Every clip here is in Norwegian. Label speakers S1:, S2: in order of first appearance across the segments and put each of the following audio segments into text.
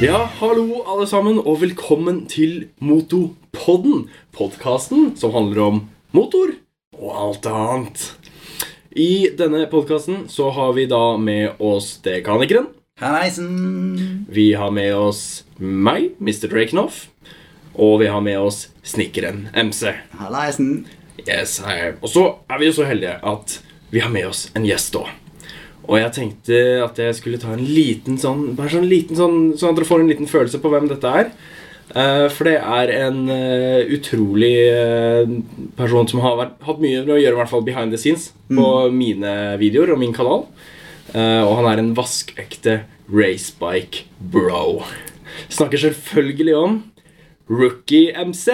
S1: Ja, hallo alle sammen, og velkommen til Motopodden. Podkasten som handler om motor og alt annet. I denne podkasten så har vi da med oss dekanikeren.
S2: Hallaisen!
S1: Vi har med oss meg, Mr. Drakenoff. Og vi har med oss snekkeren MC.
S2: Hallaisen!
S1: Yes, hei. Og så er vi jo så heldige at vi har med oss en gjest òg. Og jeg tenkte at jeg skulle ta en liten sånn Bare sånn liten sånn Sånn at dere får en liten følelse på hvem dette er. Eh, for det er en eh, utrolig eh, person som har vært, hatt mye med å gjøre i hvert fall behind the scenes på mine videoer og min kanal. Eh, og han er en vaskeekte racebike-bro. Snakker selvfølgelig om Rookie MC.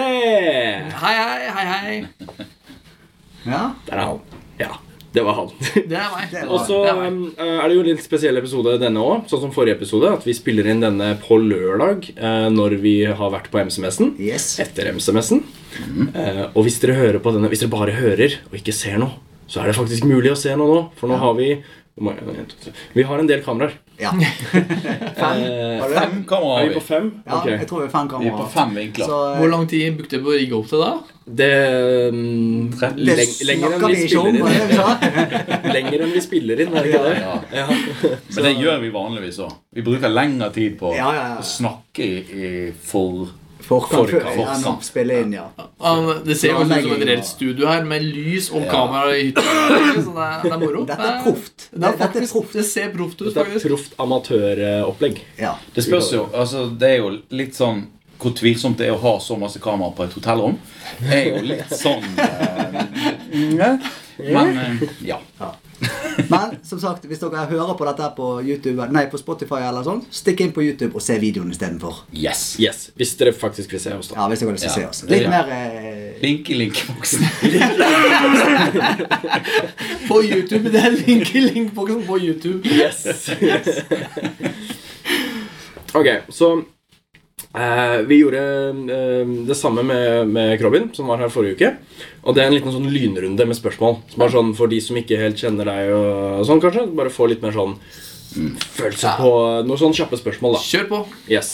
S3: Hei, hei, hei, hei.
S2: Ja,
S1: Der er han. Ja, det var han.
S3: Det er meg.
S2: Det er
S1: Og så
S3: Det er meg.
S1: um, er det jo en litt spesiell episode denne òg, sånn som forrige episode. At vi spiller inn denne på lørdag eh, når vi har vært på MCMS-en.
S2: yes.
S1: Etter MCMS-en. Eh, og hvis dere hører på denne Hvis dere bare hører og ikke ser noe, så er det faktisk mulig å se noe nå. For nå har vi hvor mange- en, to, tre. Vi har en del kameraer.
S2: Ja.
S1: Eh,
S2: Har du den?
S1: er
S4: kameraer
S1: vi på fem?
S2: Ja,
S1: Ok.
S2: jeg tror vi er fankamera.
S4: Vi er på fem vinkler.
S2: Så
S3: Hvor lang tid brukte du på å rigge opp til da?
S1: Det um,
S2: eh, det
S1: leng Lenger enn
S2: snakker
S1: vi
S2: vi ikke om,
S1: spiller
S2: var det
S1: inn.
S2: vi sa?
S1: Lenger enn vi spiller inn, er det ikke det?
S4: Ja.
S1: Ja.
S4: Men det gjør vi vanligvis òg. Vi bruker lengre tid på
S2: Ja, ja, ja.
S4: å snakke i, i for
S2: Forkant før
S4: Forkant.
S2: enn å spille inn, ja.
S3: Um, Det ser jo ut som et reelt studio her, med lys og kamera i hytta. Så det er, det er moro.
S2: Dette er proft.
S3: Det, er
S2: Dette er
S3: faktisk,
S2: proft.
S3: det ser proft ut,
S1: Det er
S3: faktisk.
S1: proft amatøropplegg.
S2: Ja.
S4: Det spørs jo altså Det er jo litt sånn hvor tvilsomt det er å ha så masse kameraer på et hotellrom. Det er jo litt sånn eh, Men eh, ja.
S2: Men som sagt, hvis dere hører på dette på, YouTube, nei, på Spotify eller sånn, stikk inn på YouTube og se videoen istedenfor.
S4: Yes.
S1: Yes, Hvis dere faktisk vil se oss, da.
S2: Ja, hvis dere har lyst til å se
S4: Ja.
S2: oss. Litt
S4: Ja.
S2: mer eh,
S4: Link i linkboksen.
S3: På YouTube. Det er link i linkboksen på YouTube.
S1: Yes. ok, så eh, vi gjorde eh, det samme med, med Krobin, som var her forrige uke. Og det er en liten sånn lynrunde med spørsmål. Som er sånn For de som ikke helt kjenner deg, og sånn kanskje. Bare få litt mer sånn følelse på noen sånne kjappe spørsmål, da.
S3: Kjør på.
S1: Yes.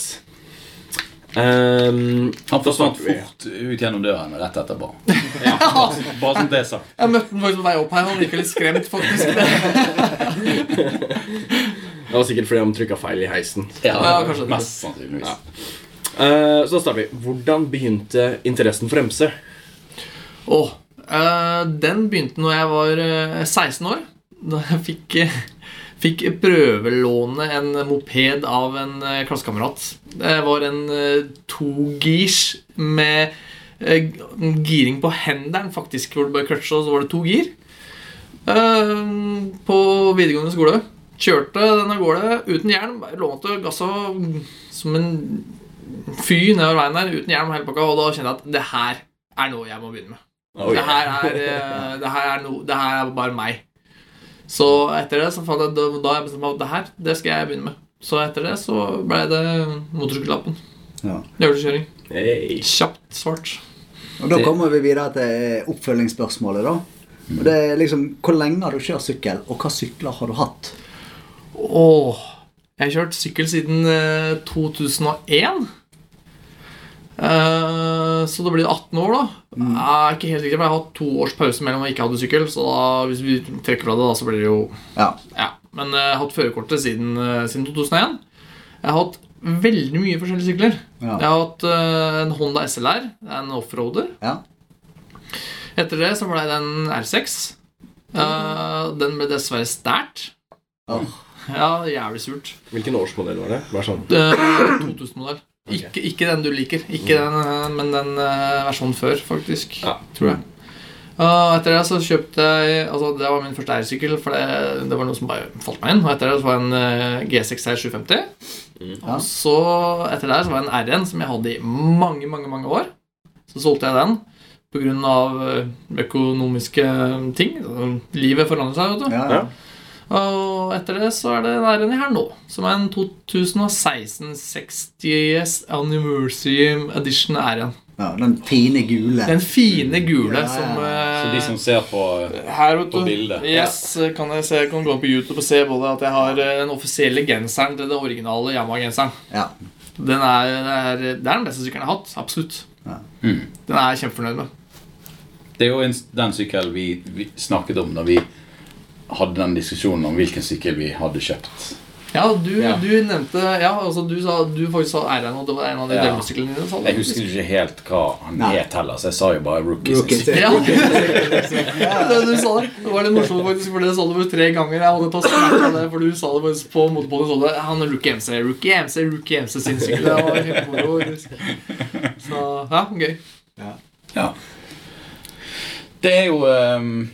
S1: Ehm,
S4: Han forsvant
S1: Da snakker
S4: fort ut gjennom døren rett etterpå. Bare, bare som det er sagt.
S3: Jeg møtte den faktisk på vei opp her. Han virka litt skremt, faktisk.
S1: det var sikkert fordi han trykka feil i heisen.
S3: Ja, kanskje det.
S4: Mest sannsynligvis.
S1: Eh, så da starter vi. Hvordan begynte interessen for MC?
S3: Åh, eh, den begynte når jeg var eh, 16 år. Da jeg fikk, eh, fikk prøvelåne en moped av en eh, klassekamerat. Det var en eh, togirs med eh, giring på hendene, faktisk. Hvor det bare kløtsja, og så var det to gir. Eh, på videregående skole. Kjørte den av gårde uten hjelm. Lånte gassa som en fyr nedover veien her uten hjelm og hele pakka, og da kjente jeg at det her er noe jeg må begynne med.
S1: Oi.
S3: Det her er, eh, det her er, no, det her er bare meg. Så etter det så fant jeg, da da jeg bestemte meg at det her, det skal jeg begynne med. Så etter det så ble det motorsykkellappen.
S2: ja.
S3: Øvelseskjøring.
S1: Hey.
S3: Kjapt svart.
S2: Og da kommer vi videre til eh, oppfølgingsspørsmålet, da. Og det er liksom, Hvor lenge har du kjørt sykkel, og hva sykler har du hatt?
S3: Åh, jeg har kjørt sykkel siden eh, 2001. Eh, så da blir det 18 år, da. Jeg er ikke helt sikker, for jeg har hatt to års pause mellom jeg ikke hadde sykkel. Så da, hvis vi trekker fra det, da, så blir det jo
S2: Ja.
S3: Ja, men eh, jeg har hatt førerkortet siden, eh, siden 2001. Jeg har hatt veldig mye forskjellige sykler.
S2: Ja.
S3: Jeg har hatt eh, en Honda SLR, det er en offroader.
S2: ja.
S3: Etter det så ble det en R6. Eh, den ble dessverre stært.
S2: Åh.
S3: Ja, jævlig surt.
S1: Hvilken årsmodell var det? Bare sånn.
S3: Eh, 2000-modell. Ikke, ikke den du liker, ikke den, eh, men den eh, versjonen før, faktisk.
S1: Ja.
S3: Tror jeg. Eh, etter det så kjøpte jeg altså Det var min første R-sykkel, for det, det var noe som bare falt meg inn. Og etter det så var det en eh, G6 R750.
S2: Ja.
S3: Og så etter det så var det en R1 som jeg hadde i mange, mange mange år. Så solgte jeg den pga. eh, økonomiske ting. Altså, Livet forandret seg, vet du.
S2: Ja,
S1: Ja.
S2: ja.
S3: Og etter det så er det nærende her nå, som er en 2016 60 Anniversary Edition er igjen.
S2: ja den fine gule.
S3: Den
S4: Mm.
S3: fine gule
S2: Ja, ja.
S3: som, eh,
S4: Så de som ser på eh,
S3: her, vet
S4: på
S3: du.
S4: bildet.
S3: Yes, kan jeg, se, jeg kan gå inn på YouTube og se både at jeg har eh, den offisielle genseren til den originale Yama-genseren.
S2: Ja.
S3: Den er, det, er, det er den beste sykkelen jeg har hatt. Absolutt.
S4: Mm.
S3: Den er jeg kjempefornøyd med.
S4: Det er jo en, den sykkelen vi, vi snakket om når vi hadde den diskusjonen om hvilken sykkel vi hadde kjøpt.
S3: Ja, du,
S4: Ja.
S3: du nevnte Ja, altså du sa Du faktisk sa Eirein, og det var en av de
S4: Ja.
S3: delmotorsyklene dine. sa du.
S4: Jeg husker ikke helt hva han
S2: Nei.
S4: het heller, så jeg sa jo bare rookie.
S2: Rookie
S4: sykkel.
S2: sykkel.
S3: Ja. det, du sa det. det var litt morsomt, faktisk, for det sa du bare tre ganger. Jeg måtte ta skryt av det, for du sa det faktisk på motorpodden. sa du, Han er rookie MC, rookie MC, rookie MC sin sykkel. Det var helt moro. faktisk. Så ja, gøy.
S4: Ja. Det er jo ehm,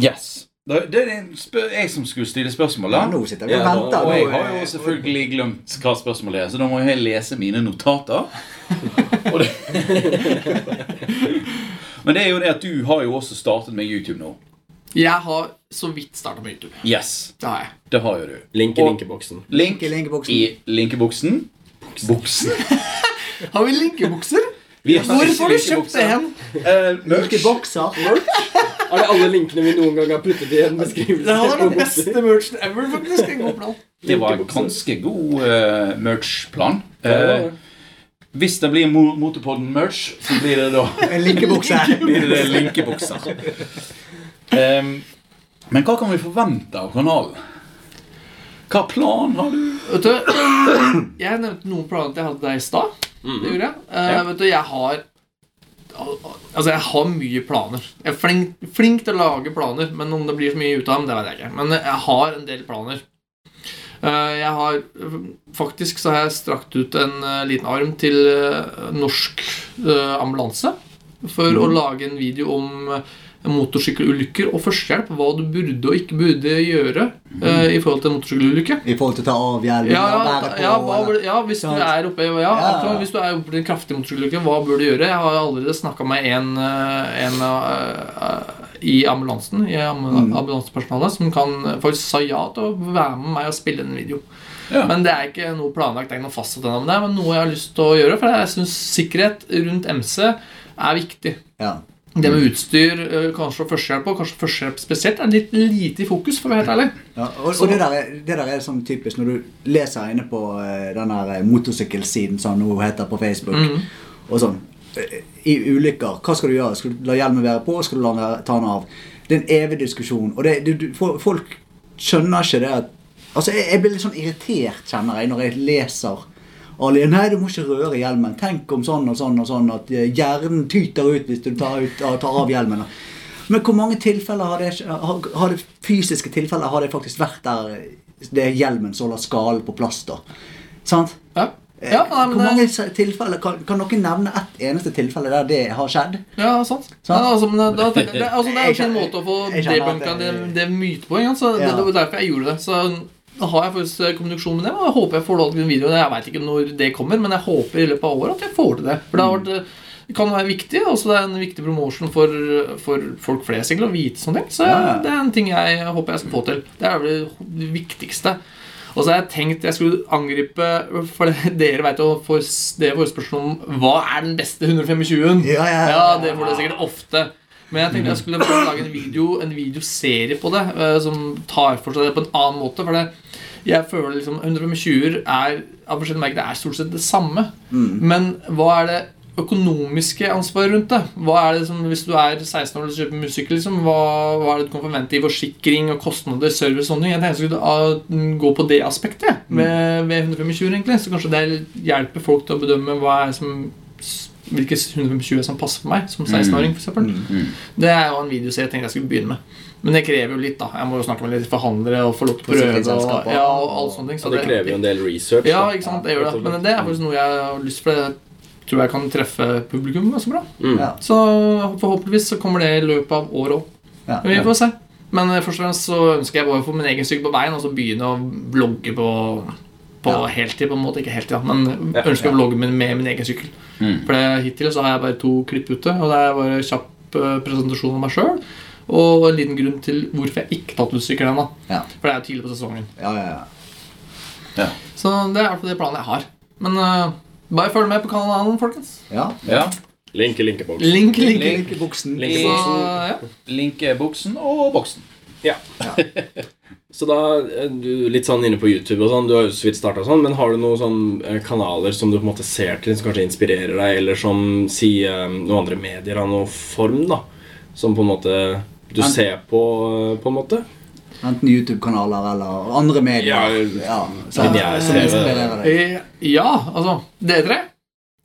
S4: Yes. Det det er det spør, jeg som skulle stille spørsmål. da.
S2: Ja, nå sitter vi og
S1: Ja, nå-
S2: venter.
S4: Og jeg
S2: Nå,
S4: har jo
S2: eh,
S4: selvfølgelig glemt hva spørsmålet er, så da må jeg lese mine notater. Og det Men det er jo det at du har jo også startet med YouTube nå.
S3: Jeg har så vidt starta med YouTube.
S4: Yes,
S3: Det har jeg.
S4: det har jo du.
S1: Link i
S4: Og-
S1: linkeboksen.
S4: Link
S2: i linkeboksen.
S4: i linkeboksen. Buksen.
S3: Har vi linkebukser?
S4: Vi
S3: Hvor får du
S4: ikke
S3: kjøpt det hen?
S4: Eh, merch.
S2: Hvilke bokser?
S1: Er det alle linkene vi noen gang har puttet i en beskrivelse?
S3: Det hadde vært
S1: på
S3: den beste merchen ever, faktisk. En god plan.
S4: Det var en
S1: linkeboksen?
S4: ganske god eh, merch-plan.
S1: Ja, det
S4: Eh,
S1: var det.
S4: hvis det blir Mo- Motorpodden-merch, så blir det da
S2: En linkebokse.
S4: blir det linkebukser. Ehm, men hva kan vi forvente av kanalen? Hva plan har du?
S3: Vet du, Jeg nevnte noen planer til jeg hadde deg i stad. Det gjorde jeg. Eh,
S4: Ja.
S3: Vet du, jeg har al- al- Altså, jeg har mye planer. Jeg er flink, flink til å lage planer, men om det blir så mye ut av dem, det vet jeg ikke. Men jeg har en del planer. Eh, Jeg har Faktisk så har jeg strakt ut en eh, liten arm til eh, norsk eh, ambulanse for å lage en video om eh, motorsykkelulykker og førstehjelp. Hva du burde og ikke burde gjøre eh, i forhold til en motorsykkelulykke.
S2: I forhold til å ta av hjelmen
S3: Ja, ja,
S2: og bære på.
S3: ja, hva
S2: eller-
S3: burde, ja, hvis du
S2: Sant.
S3: er oppe ja, akkurat,
S2: ja.
S3: Hvis du er oppe i en kraftig motorsykkelulykke, hva burde du gjøre? Jeg har allerede snakka med en, eh, en eh, i ambulansen i am-
S2: Mm.
S3: ambulansepersonalet som kan faktisk sa ja til å være med meg og spille en video.
S4: Ja.
S3: Men det er ikke noe planlagt, det er ikke noe fastsatt ennå, men det er noe jeg har lyst til å gjøre. For jeg syns sikkerhet rundt MC er viktig.
S2: Ja.
S3: Det med
S2: Mm.
S3: utstyr, eh, kanskje førstehjelp, og kanskje førstehjelp spesielt, er litt lite i fokus, for å være helt ærlig.
S2: Ja, og, og det, der er, det der er sånn typisk når du leser inne på eh, den her eh, motorsykkelsiden som nå heter på Facebook.
S3: Mhm.
S2: Og sånn eh, I ulykker, hva skal du gjøre? Skal du la hjelmen være på? Skal du la den være, ta den av? Det er en evig diskusjon. Og det, du, du, fo- folk skjønner ikke det at Altså, jeg, jeg blir litt sånn irritert, kjenner jeg, når jeg leser Ali, Nei, du må ikke røre hjelmen. Tenk om sånn og sånn og sånn at eh, hjernen tyter ut hvis du tar, ut, tar av hjelmen. Men hvor mange tilfeller har det, har, har det fysiske tilfeller har det faktisk vært der det er hjelmen som holder skallen på plass? da? Sant?
S3: Ja. Ja, nei, men
S2: Eh, hvor
S3: det-
S2: mange se- tilfeller, kan, kan dere nevne ett eneste tilfelle der det har skjedd?
S3: Ja, sant. Nei, altså, men da, da, det, altså, det er jo ikke en måte å få
S2: Jeg Sånn. skjønner at
S3: debunka det,
S2: det-
S3: det mytepoenget. Så det,
S2: Ja.
S3: det var derfor jeg gjorde det. Så da har jeg faktisk kommunikasjon med dem, og jeg håper jeg får laget en video. Jeg veit ikke når det kommer, men jeg håper i løpet av året at jeg får til det. For det har vært eh, det kan være viktig, og det er en viktig promotion for, for folk flest egentlig, å vite sånne ting. Så
S2: Ja.
S3: det er en ting jeg håper jeg skal få til. Det er vel det viktigste. Og så har jeg tenkt jeg skulle angripe For dere vet jo for det forespørsel om hva er den beste 125-en.
S2: Ja, ja, ja.
S3: det får dere sikkert ofte. Men jeg tenkte jeg skulle prøve å lage en video En videoserie på det eh, som tar for seg det på en annen måte. For det, jeg føler liksom 125-er er av forskjellige merker, det er stort sett det samme.
S2: Mm.
S3: Men hva er det økonomiske ansvaret rundt det? Hva er det som, Hvis du er 16 år og kjøper musikk, liksom, hva, hva er det du kan forvente i forsikring og kostnader, service og sånne ting? Jeg tenkte jeg skulle ah, gå på det aspektet jeg,
S2: Mm.
S3: med, med 125 egentlig. Så kanskje det hjelper folk til å bedømme hva er som hvilke 125 som passer for meg som 16-åring. For eksempel. Det er jo en videoserie jeg tenkte jeg skulle begynne med. Men det krever jo litt, da. Jeg må jo snakke med litt forhandlere og få lov til å prøve.
S2: Forsikringsselskap
S3: Og,
S2: og-
S3: ja, og alt sånne ting.
S1: Ja, det krever jo en del research.
S3: Ja,
S1: da.
S3: ikke sant, det gjør det.
S1: rett og slett.
S3: Men det er faktisk noe jeg har lyst for. Jeg tror jeg kan treffe publikum ganske bra.
S1: Mm.
S2: Ja.
S3: Så forhåpentligvis så kommer det i løpet av året òg.
S2: Ja.
S3: Vi får se. Men eh, først og fremst så ønsker jeg bare å få min egen sykkel på bein og så begynne å vlogge på, på
S2: Ja.
S3: heltid. på en måte, Ikke heltid, da, men
S1: Ja,
S3: ønsker å vlogge med, med min egen sykkel.
S4: Mm.
S3: For det- hittil så har jeg bare to klipp ute, og det er bare kjapp eh, presentasjon av meg sjøl. Og en liten grunn til hvorfor jeg ikke tatt ut sykkelen ennå.
S2: Ja.
S3: For det er jo tidlig på sesongen.
S2: Ja, ja, ja.
S4: Ja.
S3: Så det er i hvert fall det planet jeg har. Men eh, bare følg med på kanalen, folkens.
S2: ja.
S4: ja.
S1: Link i linkeboksen.
S3: Link, link, link.
S4: Link.
S2: Linkebuksen.
S1: Link-
S3: Så, ja.
S4: Linkebuksen og boksen.
S1: Ja. Så da, eh, du, Litt sånn inne på YouTube og sånn, du har jo så vidt startet sånn, men har du noen sånn eh, kanaler som du på en måte ser til, som kanskje inspirerer deg, eller som sier eh, noen andre medier av noen form, da? Som på en måte du
S2: Ja.
S1: ser på, eh, på en måte?
S2: Enten YouTube-kanaler eller andre medier.
S1: Ja,
S2: så,
S1: lineær
S2: som
S1: TV.
S2: inspirerer deg.
S3: Eh, Ja, altså Dere tre?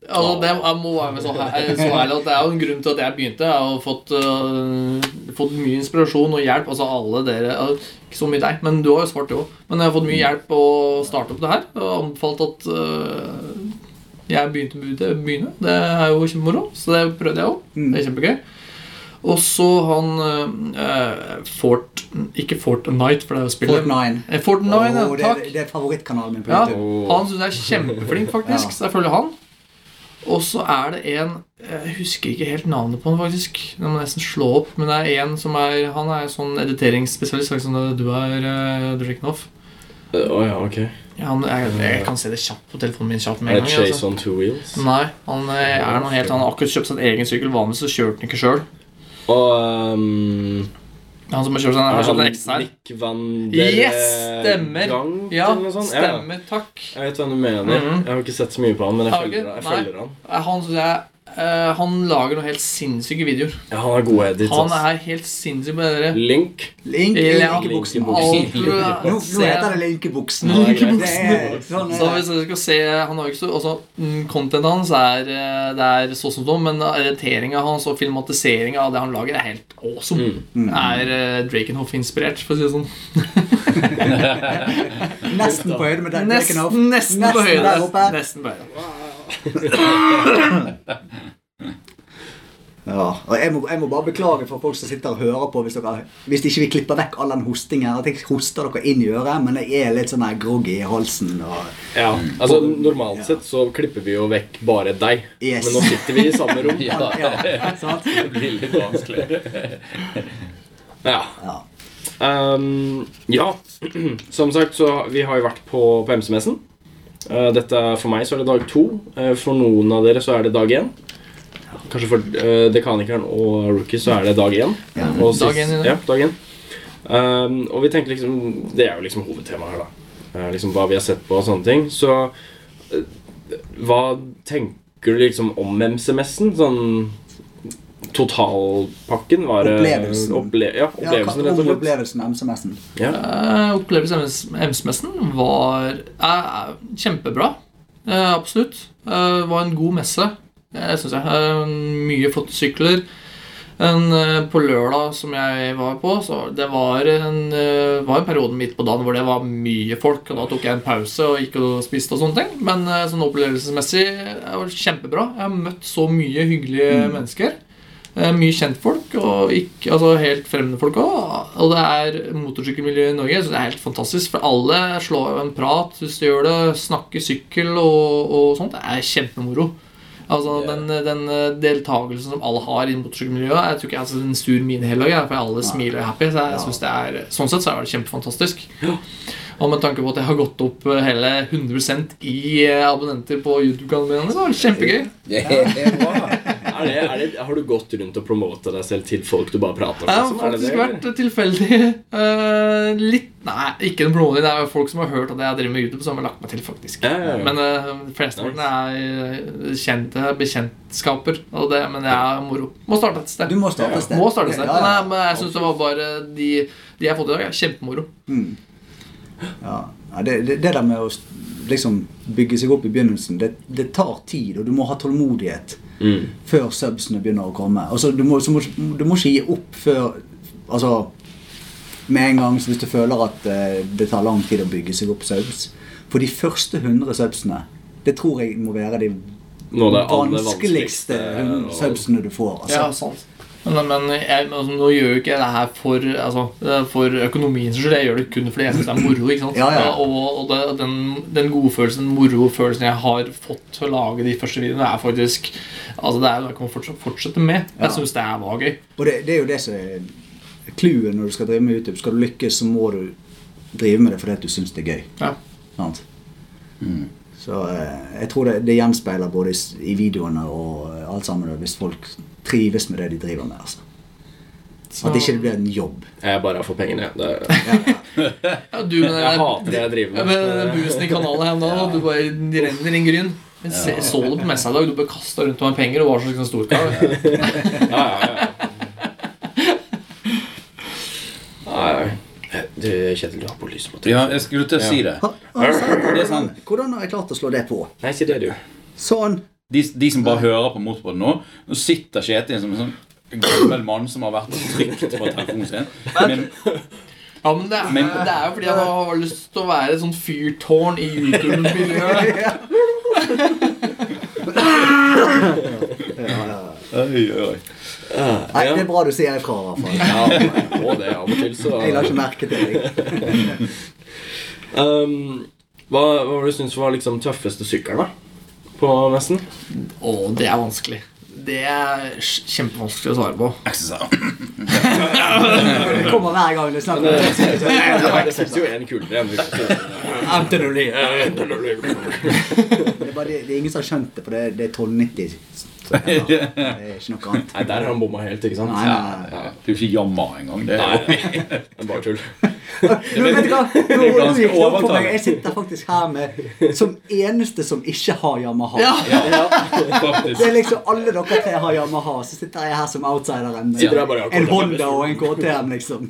S3: Altså,
S1: Ja.
S3: det, jeg må være med så, her- eh, så ærlig at det er jo en grunn til at jeg begynte. Jeg har fått, øh, fått mye inspirasjon og hjelp. Altså alle dere øh, Ikke så mye deg, men du har jo svart, du òg. Men jeg har fått mye
S2: Mm.
S3: hjelp å starte opp det her. Og anbefalt at øh, jeg begynte med det. Begynne. Det er jo kjempemoro, så det prøvde jeg òg.
S2: Mm.
S3: Det er kjempegøy. Og så han øh, eh, Fort Ikke Fortnite, for det er jo spillet.
S2: Fort Nine.
S3: Eh, Fortnite,
S2: Åh,
S3: ja,
S2: det,
S3: takk.
S2: det er favorittkanalen min på
S3: Ja,
S2: YouTube.
S1: Åh.
S3: han syns jeg er kjempeflink, faktisk.
S2: Ja.
S3: Så jeg følger han. Og så er det en Jeg husker ikke helt navnet på han, faktisk. Jeg må nesten slå opp. Men det er en som er Han er sånn editeringsspesialist, akkurat som du er, eh, Dreknoff.
S1: Eh, Å ja, ok.
S3: Ja, han- jeg, jeg kan se det kjapt på telefonen min. kjapt med
S1: Er
S3: en
S1: det
S3: gang
S1: Chase
S3: altså.
S1: on two wheels?
S3: Nei, han eh, er noe helt Han har akkurat kjøpt seg en egen sykkel. Vanligvis så kjørte han ikke sjøl.
S1: Og ehm,
S3: Han som har kjørt seg han
S1: er
S3: har sånn kjøpt en
S1: han
S3: XR.
S1: Nick van der
S3: Yes, stemmer!
S1: Gank,
S3: Ja,
S1: eller noe sånt? Ja, ja.
S3: stemmer. Takk.
S1: Jeg vet hva du mener.
S3: Mhm.
S1: Jeg har ikke sett så mye på han, men jeg
S3: Har du
S1: følger,
S3: ikke?
S1: jeg
S3: Nei.
S1: følger han.
S3: Eh, Han synes jeg eh, Han lager noen helt sinnssyke videoer.
S1: Ja, han har gode edits.
S3: Han
S1: ass.
S3: er helt sinnssyk med dere.
S1: Link.
S2: Link, link,
S3: Ja.
S2: ikke buksen.
S1: Link i buksen.
S3: Alt du er-
S2: Nå, nå heter det
S3: ser.
S2: linkebuksen.
S1: Ja, det er greit.
S2: Det er sånn
S3: Så
S2: er
S3: hvis
S2: det.
S3: dere skal se Han har jo ikke så også, mm, Contentet hans er eh, Det er så som så, men relateringa hans og filmatiseringa av det han lager, er helt awesome.
S1: Mm.
S2: Mm.
S3: Er eh, Drakenhoff-inspirert, for å si det sånn.
S2: Nesten på høyde med den.
S3: Nesten, nesten på høyde.
S2: der oppe.
S3: Nesten på høyde.
S2: Ja, og jeg må, jeg må bare beklage for folk som sitter og hører på hvis, dere, hvis ikke vi klipper vekk all den hostingen. her, At jeg hoster dere inn i øret, men jeg er litt sånn her groggy i halsen. og...
S1: Ja, altså Normalt sett så klipper vi jo vekk bare deg,
S2: Yes.
S1: men nå sitter vi i samme rom. ja.
S4: Ja,
S2: Ja, sant?
S4: det blir litt vanskelig.
S2: Ja.
S1: Ehm, ja. Som sagt, så vi har jo vært på, på MC-messen. Eh, dette er- For meg så er det dag to. Eh, for noen av dere så er det dag én. Kanskje for eh, Dekanikeren og Rookie så er det dag én.
S2: Ja.
S1: Og
S3: Dag én i dag.
S1: Ja, dag én. Ehm, og vi tenker liksom Det er jo liksom hovedtemaet her, da. Eh, liksom Hva vi har sett på og sånne ting. Så eh, hva tenker du liksom om MC-messen? Sånn totalpakken? Var det
S2: Opplevelsen.
S1: Opple ja,
S2: Ja, hva
S1: opplevelsen,
S2: om
S1: rett og slett.
S2: opplevelsen av MC-messen?
S1: Ja.
S3: Eh, Opplevelsen av MS-messen var er, er kjempebra. Eh, absolutt. Eh, var en god messe, uh, syns jeg. Eh, mye flotte sykler. En, eh, på lørdag som jeg var på, så det var en, eh, var en periode midt på dagen hvor det var mye folk. Og da tok jeg en pause og gikk og spiste og sånne ting. Men eh, sånn opplevelsesmessig eh, var det kjempebra. Jeg har møtt så mye hyggelige mennesker. Eh, Mye kjentfolk, og ikke, altså helt fremmede folk òg. Og det er motorsykkelmiljø i Norge, så det er helt fantastisk. For alle slår jo en prat hvis du gjør det. Snakke sykkel og, og sånt. Det er kjempemoro. Altså
S1: Ja.
S3: den, den eh, deltakelsen som alle har i motorsykkelmiljøet Jeg tror ikke jeg har sett en sur mine hele dagen, for alle smiler og er happy. Så jeg
S2: Ja.
S3: synes det er, sånn sett så er det kjempefantastisk. Og med tanke på at jeg har gått opp eh, hele 100 i eh, abonnenter på YouTube-kanalen min, så er det kjempegøy.
S4: Det er bra.
S1: Er det, er det, har du gått rundt og promota deg selv til folk du bare prater
S3: Jeg har
S1: liksom? Er det det,
S3: faktisk
S1: eller?
S3: vært tilfeldig eh, litt Nei, ikke en blodlig. Det er jo folk som har hørt at jeg driver med YouTube, som har lagt meg til, faktisk.
S1: Ja, ja, ja.
S3: Men uh, flesteparten er eh, kjente bekjentskaper, og det, men det er moro. Må starte et sted.
S2: Du må starte et sted.
S3: Må starte et sted.
S2: Ja, ja.
S3: Nei, men jeg syns det var bare de, de jeg har fått i dag, er kjempemoro.
S2: Ja, ja det, det, det der med å s- liksom bygge seg opp i begynnelsen, det, det tar tid, og du må ha tålmodighet
S1: Mm.
S2: før subsene begynner å komme. Altså, du, må, så må, du må ikke gi opp før Altså med en gang så hvis du føler at eh, det tar lang tid å bygge seg opp subs. For de første 100 subsene, det tror jeg må være de
S1: Noe av det aller
S2: vanskeligste hun-
S1: og-
S2: subsene du får. Altså.
S3: Ja, sant. Men, men jeg, men altså, nå gjør jo ikke jeg det her for, altså, eh, for økonomiens skyld. Jeg gjør det kun fordi jeg syns det er moro. ikke sant?
S2: Ja, ja.
S3: Og, og det, den, den gode følelsen, morofølelsen jeg har fått til å lage de første videoene, er faktisk altså Det er jo det jeg kommer fortsatt fortsette med.
S2: Ja.
S3: Jeg syns det her var gøy.
S2: Og det, det er jo det som er clouet når du skal drive med YouTube. Skal du lykkes, så må du drive med det fordi at du syns det er gøy.
S3: Ja.
S2: Sant? Så eh, jeg tror det, det gjenspeiler både i, s- i videoene og eh, alt sammen. og Hvis folk trives med det de driver med. altså.
S3: Så,
S2: At ikke det blir en jobb.
S1: Jeg er bare her for pengene. Det,
S3: ja, du med den
S1: jeg
S3: der-
S1: hater det jeg
S3: ja,
S1: driver
S3: med
S1: med.
S3: den der busen i kanalen her om dagen, og du bare de renner inn gryn. Men se, så du på messa i dag? Du ble kasta rundt med penger og var så sånn storkar. du.
S1: Ja, ja, ja. Nei, nei. Eh, Du, Kjetil, du har på lyset på trynet.
S4: Ja, jeg skulle til å si det.
S2: Ha- altså,
S4: Det er sant.
S2: Hvordan har jeg klart å slå det på?
S1: Nei, si det, du.
S2: Sånn.
S4: De, de som bare hører på Motorpod nå, nå sitter Kjetil som en sånn gammel mann som har vært og trykt på telefonen sin. Men
S3: Ja, men det, er-
S4: Men-
S3: det er jo fordi jeg har lyst til å være et sånt fyrtårn i YouTube-miljøet.
S4: oi, oi.
S2: Nei, det er bra du sier ifra, i hvert fall.
S1: Ja, jeg må det av og til, så
S2: Jeg la ikke merke til deg.
S1: um, Hva hva var det du syns var liksom tøffeste sykkelen, da? På messen?
S3: Å, det er vanskelig. Det er sj- kjempevanskelig å svare på.
S4: Exercise.
S2: Det kommer hver gang du snakker om det.
S1: Det fins jo en kulere enn
S2: Antonoli.
S1: vi
S2: Det er, bare, det, det er ingen som har skjønt det, for det, det er 1290. Så, ja, det er ikke noe annet.
S1: Nei, der har han bomma helt, ikke sant?
S2: Nei, nei,
S4: Det er jo ikke jamma engang. Det er
S1: Nei, det er bare tull.
S2: Nå, vet du hva? Nå, nå
S4: ganske
S2: gikk det opp for meg.
S4: overtalende.
S2: Jeg sitter faktisk her med som eneste som ikke har Yamaha.
S3: Ja.
S2: Det
S4: faktisk
S2: er liksom Alle dere tre har Yamaha, så sitter jeg her som outsideren. med
S1: Sitter der bare, ja,
S2: en
S1: KTM.
S2: Honda og en KTM, liksom.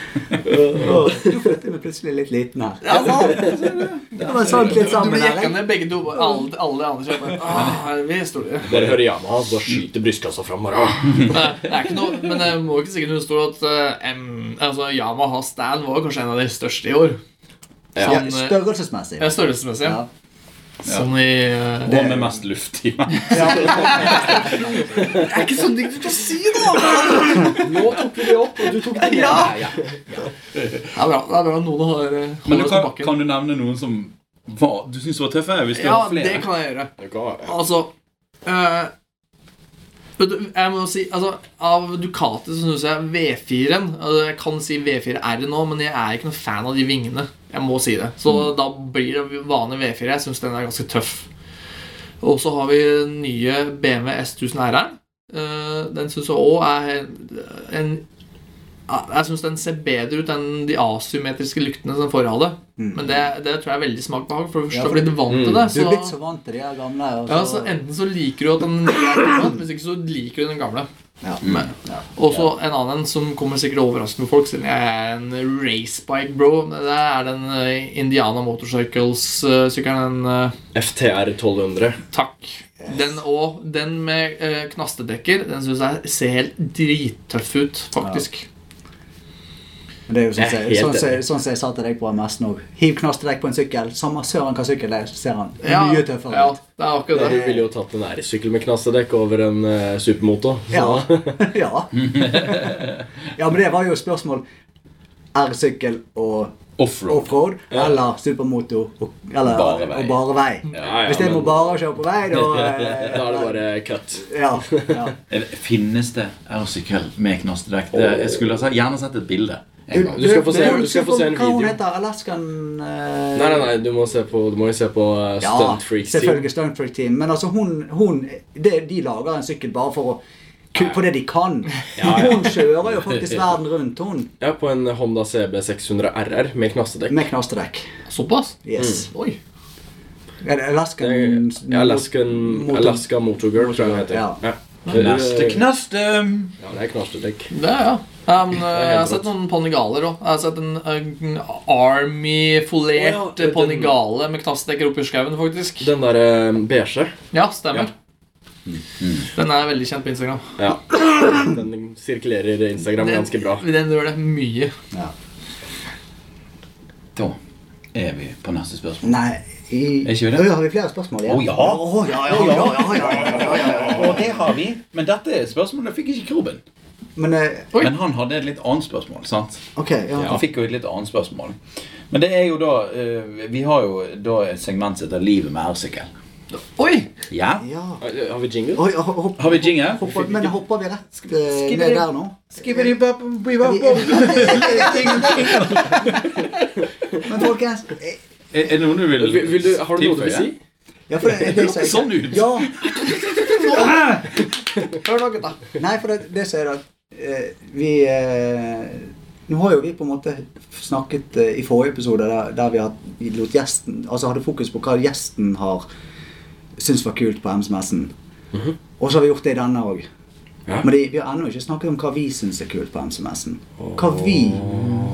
S2: Nå følte jeg meg plutselig litt liten her.
S3: Ja, sant.
S2: Det var sånn litt
S3: Du
S2: sammen
S3: blir
S2: her.
S3: jekka
S2: jeg.
S3: ned begge to. Alle, alle andre kjøper. Ah, vi er store.
S1: Dere hører Yamaha, så skyter brystkassa fram. bare, ah.
S3: Nei, Det er ikke noe, men jeg må ikke sikkert understå at eh, em, altså, Yamaha Stan var kanskje en av de største i år.
S2: Ja,
S3: Sånn, eh,
S2: størrelsesmessig.
S3: ja, størrelsesmessig.
S2: Ja.
S3: Sånn i eh,
S4: Og med mest luft i meg.
S3: Det er ikke så digg å si, da!
S1: Nå tok vi det opp, og du tok det
S3: Ja.
S1: ned. Ja,
S3: Det er bra, det er bra at noen har eh,
S4: Men du
S3: holder oss på
S4: kan,
S3: bakken.
S4: kan du nevne noen som var, du syns var tøffe? Hvis du
S3: ja,
S4: har
S3: det
S4: flere?
S3: kan jeg gjøre.
S1: ja.
S3: Altså eh, vet du, Jeg må si altså, Av Ducati så syns jeg V4-en altså, Jeg kan si V4R nå, men jeg er ikke noen fan av de vingene. Jeg må si det. Så
S2: Mm.
S3: da blir det vanlig V4. Jeg syns den er ganske tøff. Og så har vi nye BMW S1000 RR. Eh, Den syns jeg òg er en- en ja, jeg syns den ser bedre ut enn de asymmetriske lyktene som forrige hadde. Men det, det tror jeg er veldig smakbehag. For det første
S2: Mm. Ja, for Mm.
S3: blir du vant til det.
S2: Du er
S3: så-
S2: blitt så vant til de her gamle. altså. og
S3: ja, altså,
S2: så-
S3: så Enten så liker du at den nye er gammel, hvis ikke så liker du den gamle.
S2: Ja.
S3: Men- Og så en annen som kommer sikkert overraskende på folk, siden jeg er en racebike-bro. Det er den eh, Indiana Motorcycles-sykkelen. Den eh,
S1: FTR 1200.
S3: Takk. Den og den med eh, knastedekker, den syns jeg ser helt drittøff ut, faktisk.
S2: Men Det er jo sånn
S1: Jeg er
S2: som
S1: helt
S2: sånn, som-
S1: enig.
S2: sånn som jeg sa til deg på MS nå. Hiv knast til deg på en sykkel. Samme søren hva sykkel det er, så ser han mye tøffere
S3: ja,
S2: ut.
S3: det er akkurat
S1: Du
S3: det.
S1: ville jo tatt en æresykkel med knassedekk over en eh, supermotor. så-
S2: Ja. ja. ja, men det var jo et spørsmål. R-sykkel og
S4: Offroad.
S2: offroad eller supermotor og, eller,
S4: Bare vei.
S2: og bare vei.
S1: Ja, ja,
S2: Hvis jeg må
S1: men-
S2: bare kjøre på vei, da eh,
S1: Da er det bare cut.
S2: ja, ja.
S4: Finnes det R-sykkel med knastedekk? Det- Jeg skulle ha sett- gjerne sett et bilde. en gang.
S1: Du skal få se, du skal få se en
S2: Hva hun
S1: video.
S2: heter Alaskan eh,
S1: Nei, nei, nei, du må, se på, du må jo se på eh,
S2: Ja,
S1: Stunt Freaks.
S2: selvfølgelig Stunt Freak Team. Men altså, hun, hun det, De lager en sykkel bare for å ku- for det de kan. Hun kjører jo faktisk verden rundt, hun.
S1: Ja, på en Honda CB 600 RR med knassedekk.
S2: Med knastedekk.
S3: Såpass?
S2: Yes.
S3: Oi.
S2: Er det Alaskan
S1: Ja, Alaskan,
S2: Motor-
S1: Alaska Motorgirl, tror jeg den heter.
S2: Ja.
S4: Neste
S1: Ja.
S4: knaste!
S1: Ja, det er knastedekk.
S3: Det, ja. Ja, men, eh, jeg har
S1: helt
S3: sett
S1: rått.
S3: noen panigaler òg. Jeg har sett en, en Army-folert
S1: Å, ja, den-
S3: panigale med knastedekker oppi skauen, faktisk.
S1: Den der eh, beige,
S3: Ja, stemmer. Den er veldig kjent på Instagram.
S1: ja. den sirkulerer Instagram
S3: Den,
S1: ganske bra.
S3: den gjør det mye.
S4: Da er vi på neste spørsmål.
S2: Nei i,
S4: Er ikke vi det?
S2: Øy, Har vi flere spørsmål igjen?
S4: Å, ja.
S2: Å, ja, ja, ja, ja, ja, ja, ja, ja.
S4: Og det har vi. Men dette er spørsmålet fikk ikke Kroben.
S2: Men eh,
S3: Oi.
S4: Men han hadde et litt annet spørsmål. sant?
S2: OK. Ja.
S4: Han fikk jo et litt annet spørsmål. Men det er jo da eh, Vi har jo da et segment som heter 'Livet med R-sykkel'.
S3: Oi!
S4: Ja.
S2: ja.
S1: Har vi jingle?
S2: Oi, ho- hopp,
S4: Har vi jingle?
S2: hopper, men hopper vi rett eh,
S4: Skip-
S2: ned der nå? Men folkens eh,
S4: Er, er det noe du vil,
S1: Vil, vil du, har du noe du vil si?
S2: ja, for det, det,
S4: Det hørtes sånn ut.
S2: Ja.
S3: Hør nå, gutta.
S2: Nei, for det, det som er at eh, vi eh, Nå har jo vi på en måte snakket eh, i forrige episode der, der vi, hatt, vi lot gjesten Altså hadde fokus på hva gjesten har syntes var kult på MS-messen. Og så har vi gjort det i denne òg.
S1: Ja.
S2: Men det, vi har ennå ikke snakket om hva vi syns er kult på MS-messen. Hva vi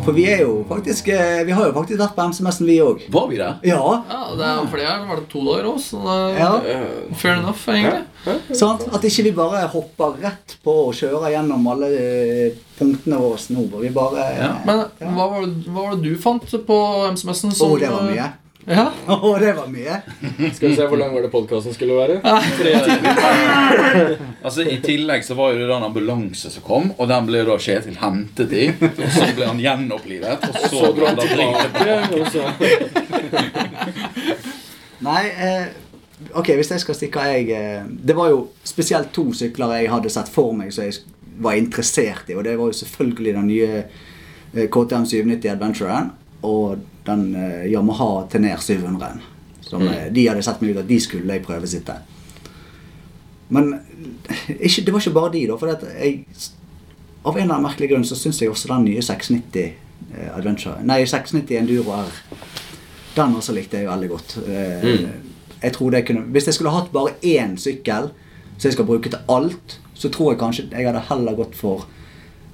S2: For vi er jo faktisk eh, Vi har jo faktisk vært på MS-messen, vi òg.
S4: Var vi der?
S2: Ja,
S3: Ja, det er flere her. Var det to dager òg, så da
S2: ja,
S1: Eh,
S3: Fair enough, egentlig.
S2: sant? At ikke vi bare hopper rett på og kjører gjennom alle eh, punktene våre nå. og Vi bare
S4: Ja,
S3: Men hva var det, hva var det du fant på MCMS-en?
S2: Å, det var mye.
S3: eh, Ja,
S2: Å, det var mye.
S1: Skal vi se hvor lang var det podkasten skulle være?
S4: Altså, I tillegg så var jo det den ambulanse som kom, og den ble da Kjetil hentet i. Og så ble han gjenopplivet, og så ble han da bringt
S1: Tilbake, og så-
S2: Nei, eh, ok, hvis jeg skal stikke jeg eh, Det var jo spesielt to sykler jeg hadde sett for meg som jeg var interessert i, og det var jo selvfølgelig den nye eh, KTM 790 Adventuren og den eh, Yamaha Tener 700-en. Som eh, de hadde sett meg ut at de skulle jeg prøvesitte. Men eh, ikke, det var ikke bare de, da. For at jeg, av en eller annen merkelig grunn så syns jeg også den nye 690 eh, Adventure Nei, 690 Enduro R. Den også likte jeg veldig godt. Eh, Jeg tror det kunne Hvis jeg skulle hatt bare én sykkel som jeg skal bruke til alt, så tror jeg kanskje jeg hadde heller gått for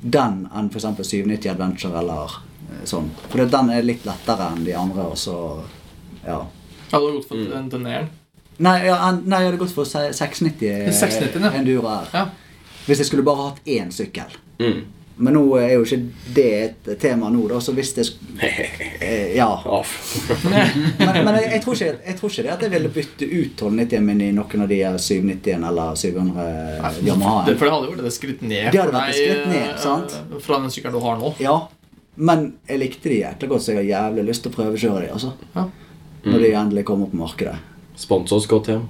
S2: den enn f.eks. 790 Adventure eller eh, sånn. For det- den er litt lettere enn de andre, og så Ja.
S3: ja du har godt fått den teneren.
S2: Nei, ja, en- nei, jeg hadde gått for se- 690
S3: 690, ja.
S2: eh, Enduro R.
S3: Ja.
S2: Hvis jeg skulle bare hatt én sykkel.
S1: Mm.
S2: Men nå er jo ikke det et tema nå, da, så hvis det sk- eh, Ja.
S1: Off.
S2: Men, men jeg, jeg, tror ikke, jeg tror ikke det at jeg ville bytte ut 1290-en min i noen av de her 790-en eller 700
S3: Det,
S2: Yamaha-en.
S3: for det hadde jo vært et skritt ned
S2: Det hadde
S3: for
S2: vært et skritt ned, sant?
S3: eh, fra den sykkelen du har nå.
S2: Ja, men jeg likte de jækla godt, så jeg har jævlig lyst til å prøvekjøre de, altså.
S3: Ja.
S2: Når de endelig kommer på markedet.
S1: Spons oss godt hjem.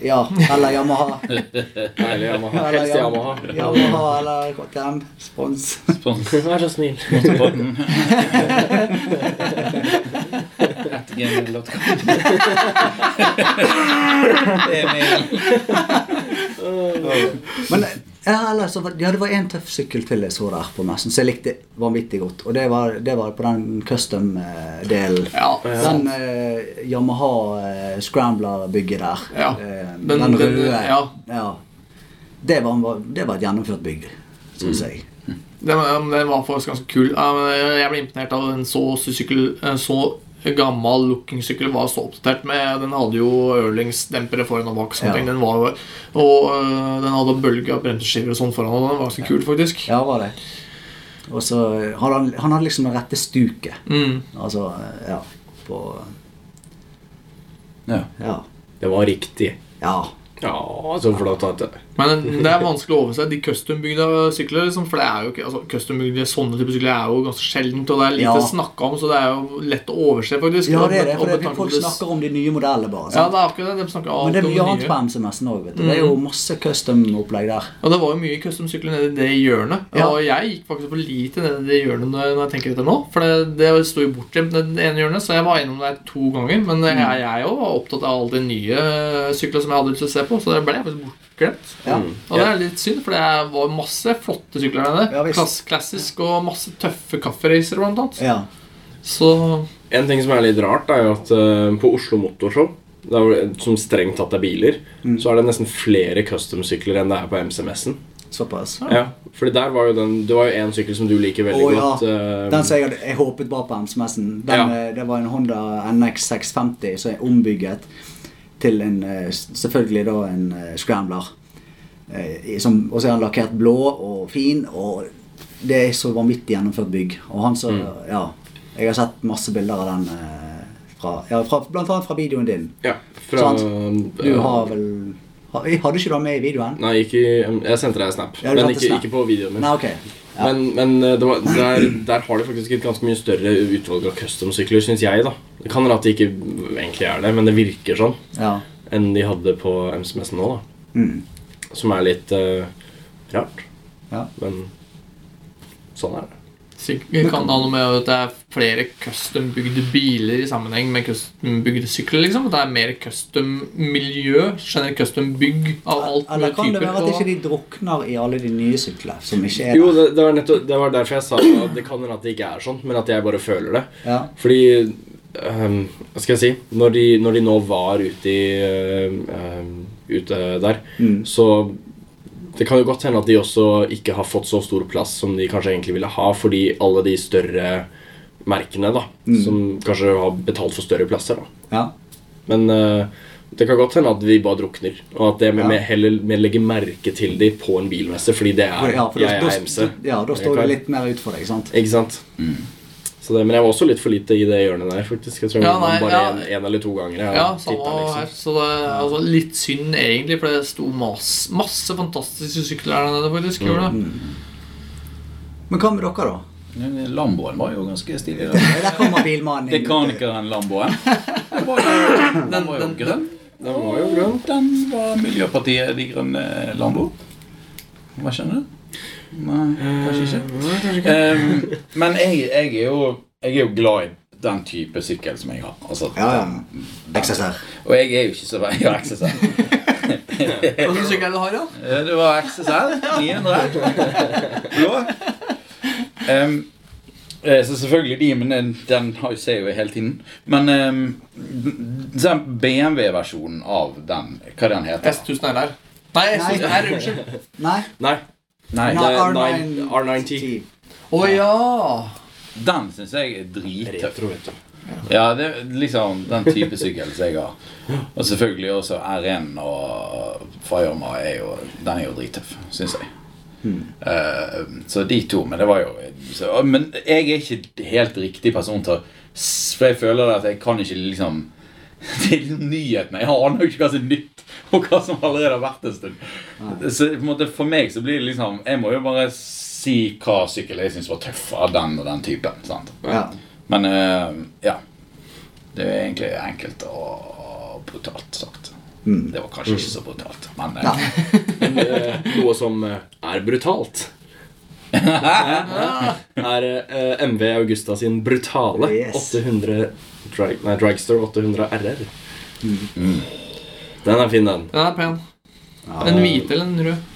S2: Ja, eller Yamaha.
S1: Deilig Yamaha.
S2: Eller
S1: Helst Yamaha.
S2: Yamaha eller KTM. Spons.
S4: sånn
S1: Vær så snill.
S4: på den. At gmail.com. Emil.
S2: Men ja, eller, så, var- ja, det var en tøff sykkel til jeg så der på messen, så jeg likte vanvittig godt. Og det var, det var på den eh, custom-delen.
S3: Ja,
S2: Den eh, Yamaha eh, Scrambler-bygget der.
S3: Ja.
S2: Eh, den,
S3: Den- den-
S2: røde.
S3: ja.
S2: Det, var, det var et gjennomført bygg, syns jeg.
S3: Den, var- den var faktisk ganske kul. Ja, men Jeg ble imponert av en så, sykkel, en så gammel looking sykkel var så oppdatert med Den hadde jo ørlingsdempere foran og bak. Sånne
S2: Ja.
S3: ting. Den var, og øh, den hadde bølge av bremseskiver og sånn foran. Og den var ganske kul, faktisk.
S2: Ja, var det. Og så hadde han, han hadde liksom det rette stuket.
S3: Mm.
S2: Altså, eh, ja På
S4: Ja.
S2: Ja.
S1: Det var riktig.
S2: ja.
S1: Ja, så flott at det
S3: Men det er vanskelig å overse de custombygde sykler. Liksom, for det er jo ikke, altså, custombygde sånne type sykler er jo ganske sjeldent, og det er lite
S2: Ja.
S3: snakka om, så det er jo lett å overse, faktisk.
S2: ja,
S3: Og-
S2: det er det.
S3: og
S2: For det,
S3: betale
S2: folk
S3: det-
S2: snakker om de nye modellene, bare.
S3: Ja,
S2: Sant?
S3: det er akkurat det. De snakker
S2: Men det
S3: alt
S2: er
S3: om
S2: mye
S3: det
S2: annet
S3: nye. Mm.
S2: på MCMS-en òg. Det er jo masse custom-opplegg der.
S3: Og det var jo mye custom-sykler nede i det hjørnet.
S2: Ja.
S3: Og jeg gikk faktisk for lite nede i det hjørnet når når jeg tenker etter nå. For det, det sto jo bortgjemt nede i det ene hjørnet, så jeg var innom der to ganger. Men
S2: Mm.
S3: jeg, jeg også var opptatt av alle de nye syklene som jeg hadde lyst til å se på, så det ble jeg faktisk bortglemt.
S2: Ja.
S3: Og det er litt synd, for det er- var masse flotte sykler der.
S2: Ja,
S3: nede.
S2: visst.
S3: Klass, klassisk og masse tøffe kafferacere, blant annet.
S2: ja.
S3: Så
S1: En ting som er litt rart, er jo at eh, på Oslo Motorshow, der hvor- eh, som strengt tatt er biler,
S2: Mm.
S1: så er det nesten flere custom-sykler enn det er på MCMS-en.
S2: Såpass.
S1: Ja, fordi der var jo den Det var jo én sykkel som du liker veldig
S2: Å, ja.
S1: godt. eh,
S2: Den som jeg, hadde, jeg håpet var på MS-messen. Den,
S1: Ja.
S2: eh, Det var en Honda NX 650 som er ombygget til en eh, s- selvfølgelig da en eh, scrambler. Eh, i- som- Og så er han lakkert blå og fin, og det er så vanvittig gjennomført bygg. Og han så,
S1: Mm.
S2: ja, Jeg har sett masse bilder av den, eh, fra, ja, fra, blant annet fra videoen din.
S1: ja, fra,
S2: Sant. Du
S1: eh,
S2: har vel har- Hadde ikke du den med i videoen?
S1: Nei, ikke, jeg sendte deg en snap,
S2: Ja, du
S1: men
S2: sendte
S1: ikke,
S2: snap.
S1: ikke på videoen min.
S2: Nei, ok. Ja.
S1: Men, men eh, det var, der, der har de faktisk et ganske mye større utvalg av custom-sykler, syns jeg. da Det kan hende at det ikke egentlig er det, men det virker sånn.
S2: Ja.
S1: Enn de hadde på MCMS-en nå, da.
S2: Mm.
S1: Som er litt eh, rart.
S2: Ja.
S1: Men sånn er det.
S3: Sikkert kan det ha noe med at det er flere custom-bygde biler i sammenheng med custom-bygde sykler. liksom. At det er mer custom-miljø, generelt custom-bygg av alt mulig
S2: Eller kan det
S3: typer.
S2: være at
S3: og-
S2: ikke de drukner i alle de nye syklene som ikke er
S1: Jo,
S2: der?
S1: det, det, var nettopp, det var derfor jeg sa at det kan hende at det ikke er sånn, men at jeg bare føler det.
S2: Ja.
S1: Fordi ehm, Hva skal jeg si Når de, når de nå var ute, i, ehm, ehm, ute der,
S2: Mm.
S1: så det kan jo godt hende at de også ikke har fått så stor plass som de kanskje egentlig ville ha, fordi alle de større merkene da
S2: Mm.
S1: som kanskje har betalt for større plasser. da
S2: ja.
S1: Men eh, det kan godt hende at vi bare drukner, og at jeg
S2: Ja.
S1: med, heller med legge merke til de på en bilmesse, fordi det er
S2: Ja, for da,
S1: jeg er MC.
S2: da, ja, da står det litt mer ut for deg, sant?
S1: Ikke sant? Så det, men jeg var også litt for lite i det hjørnet der, faktisk. Jeg tror
S3: Ja,
S1: jeg var
S3: nei,
S1: bare
S3: ja.
S1: en, en eller to ganger. Jeg
S3: Ja,
S1: har
S3: samme
S1: tittet, liksom.
S3: her. Så det er altså, litt synd, egentlig, for det sto masse, masse fantastiske sykler der nede. faktisk, gjorde det.
S2: Men hva med dere, da?
S4: eh, Lamboen var jo ganske stilig. da.
S2: Nei, Der kommer bilmannen inn.
S4: Dekanikeren Lamboen. Den var jo, den var jo
S3: den-
S4: grønn.
S1: Den var jo grønn.
S4: Den var Miljøpartiet De Grønne Lambo. Hva skjønner du? Nei, kanskje ikke. Ehm, men jeg, jeg, er jo, jeg er jo glad i den type sykkel som jeg har. Altså,
S2: Ja, ja.
S4: den-
S2: XSR.
S4: Og jeg er jo ikke så veldig ja, XSL.
S3: Hva slags sykkel er det du har, ja?
S4: Eh, Det var XSL 900. Blå. Ehm, eh, så selvfølgelig de, men den, den har jo ser jo jeg hele tiden. Men ehm, den BMW-versjonen av den, hva den heter
S3: S1000 RR. Nei, S1000 R, unnskyld.
S2: Nei.
S1: Nei,
S4: Nei,
S1: Nei.
S4: den,
S1: er
S2: R9
S1: R9T.
S3: Å ja!
S4: den syns jeg er drittøff.
S1: retro, vet du.
S4: Ja, det er liksom den type sykkel som jeg har. Og selvfølgelig også R1 og Firema er jo Den er jo drittøff, syns jeg. Eh, så de to, men det var jo så, Men jeg er ikke helt riktig person til å s- For jeg føler at jeg kan ikke liksom Det er liksom nyhetene. Jeg aner jo ikke hva som er nytt, og hva som allerede har vært en stund. Så på en måte for meg så blir det liksom Jeg må jo bare si hva sykkel jeg syns var tøff av den og den typen. sant?
S2: Ja.
S4: Men eh, ja. Det er egentlig enkelt og brutalt sagt. Det var kanskje ikke så brutalt, men eh,
S2: Nei.
S1: Eh, Noe som eh, er brutalt. er eh, MV Augusta sin brutale
S2: Yes.
S1: 800 drag, nei, Dragster 800 RR.
S4: Mm.
S1: Den er fin, den.
S3: Den er pen. Den hvite eller den røde?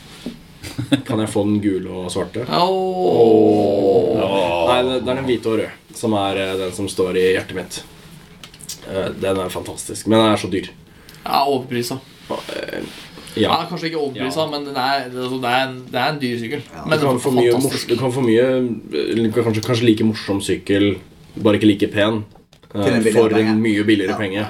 S1: Kan jeg få den gule og svarte?
S3: Åh.
S1: Nei, det, det er den hvite og rød som er eh, den som står i hjertet mitt. Eh, Den er fantastisk, men den er så dyr.
S3: Ja, overprisa. Ja,
S1: Ja.
S3: kanskje ikke overprisa,
S1: Ja.
S3: men den er, altså, det, er en, det er en dyr sykkel.
S1: Du
S3: Men den
S1: kan
S3: er
S1: få mye, mors,
S3: fantastisk.
S1: du kan få mye eh, kanskje, kanskje like morsom sykkel, bare ikke like pen, eh,
S2: Til en billigere
S1: for en
S2: penge.
S1: mye billigere
S2: Ja.
S1: penge.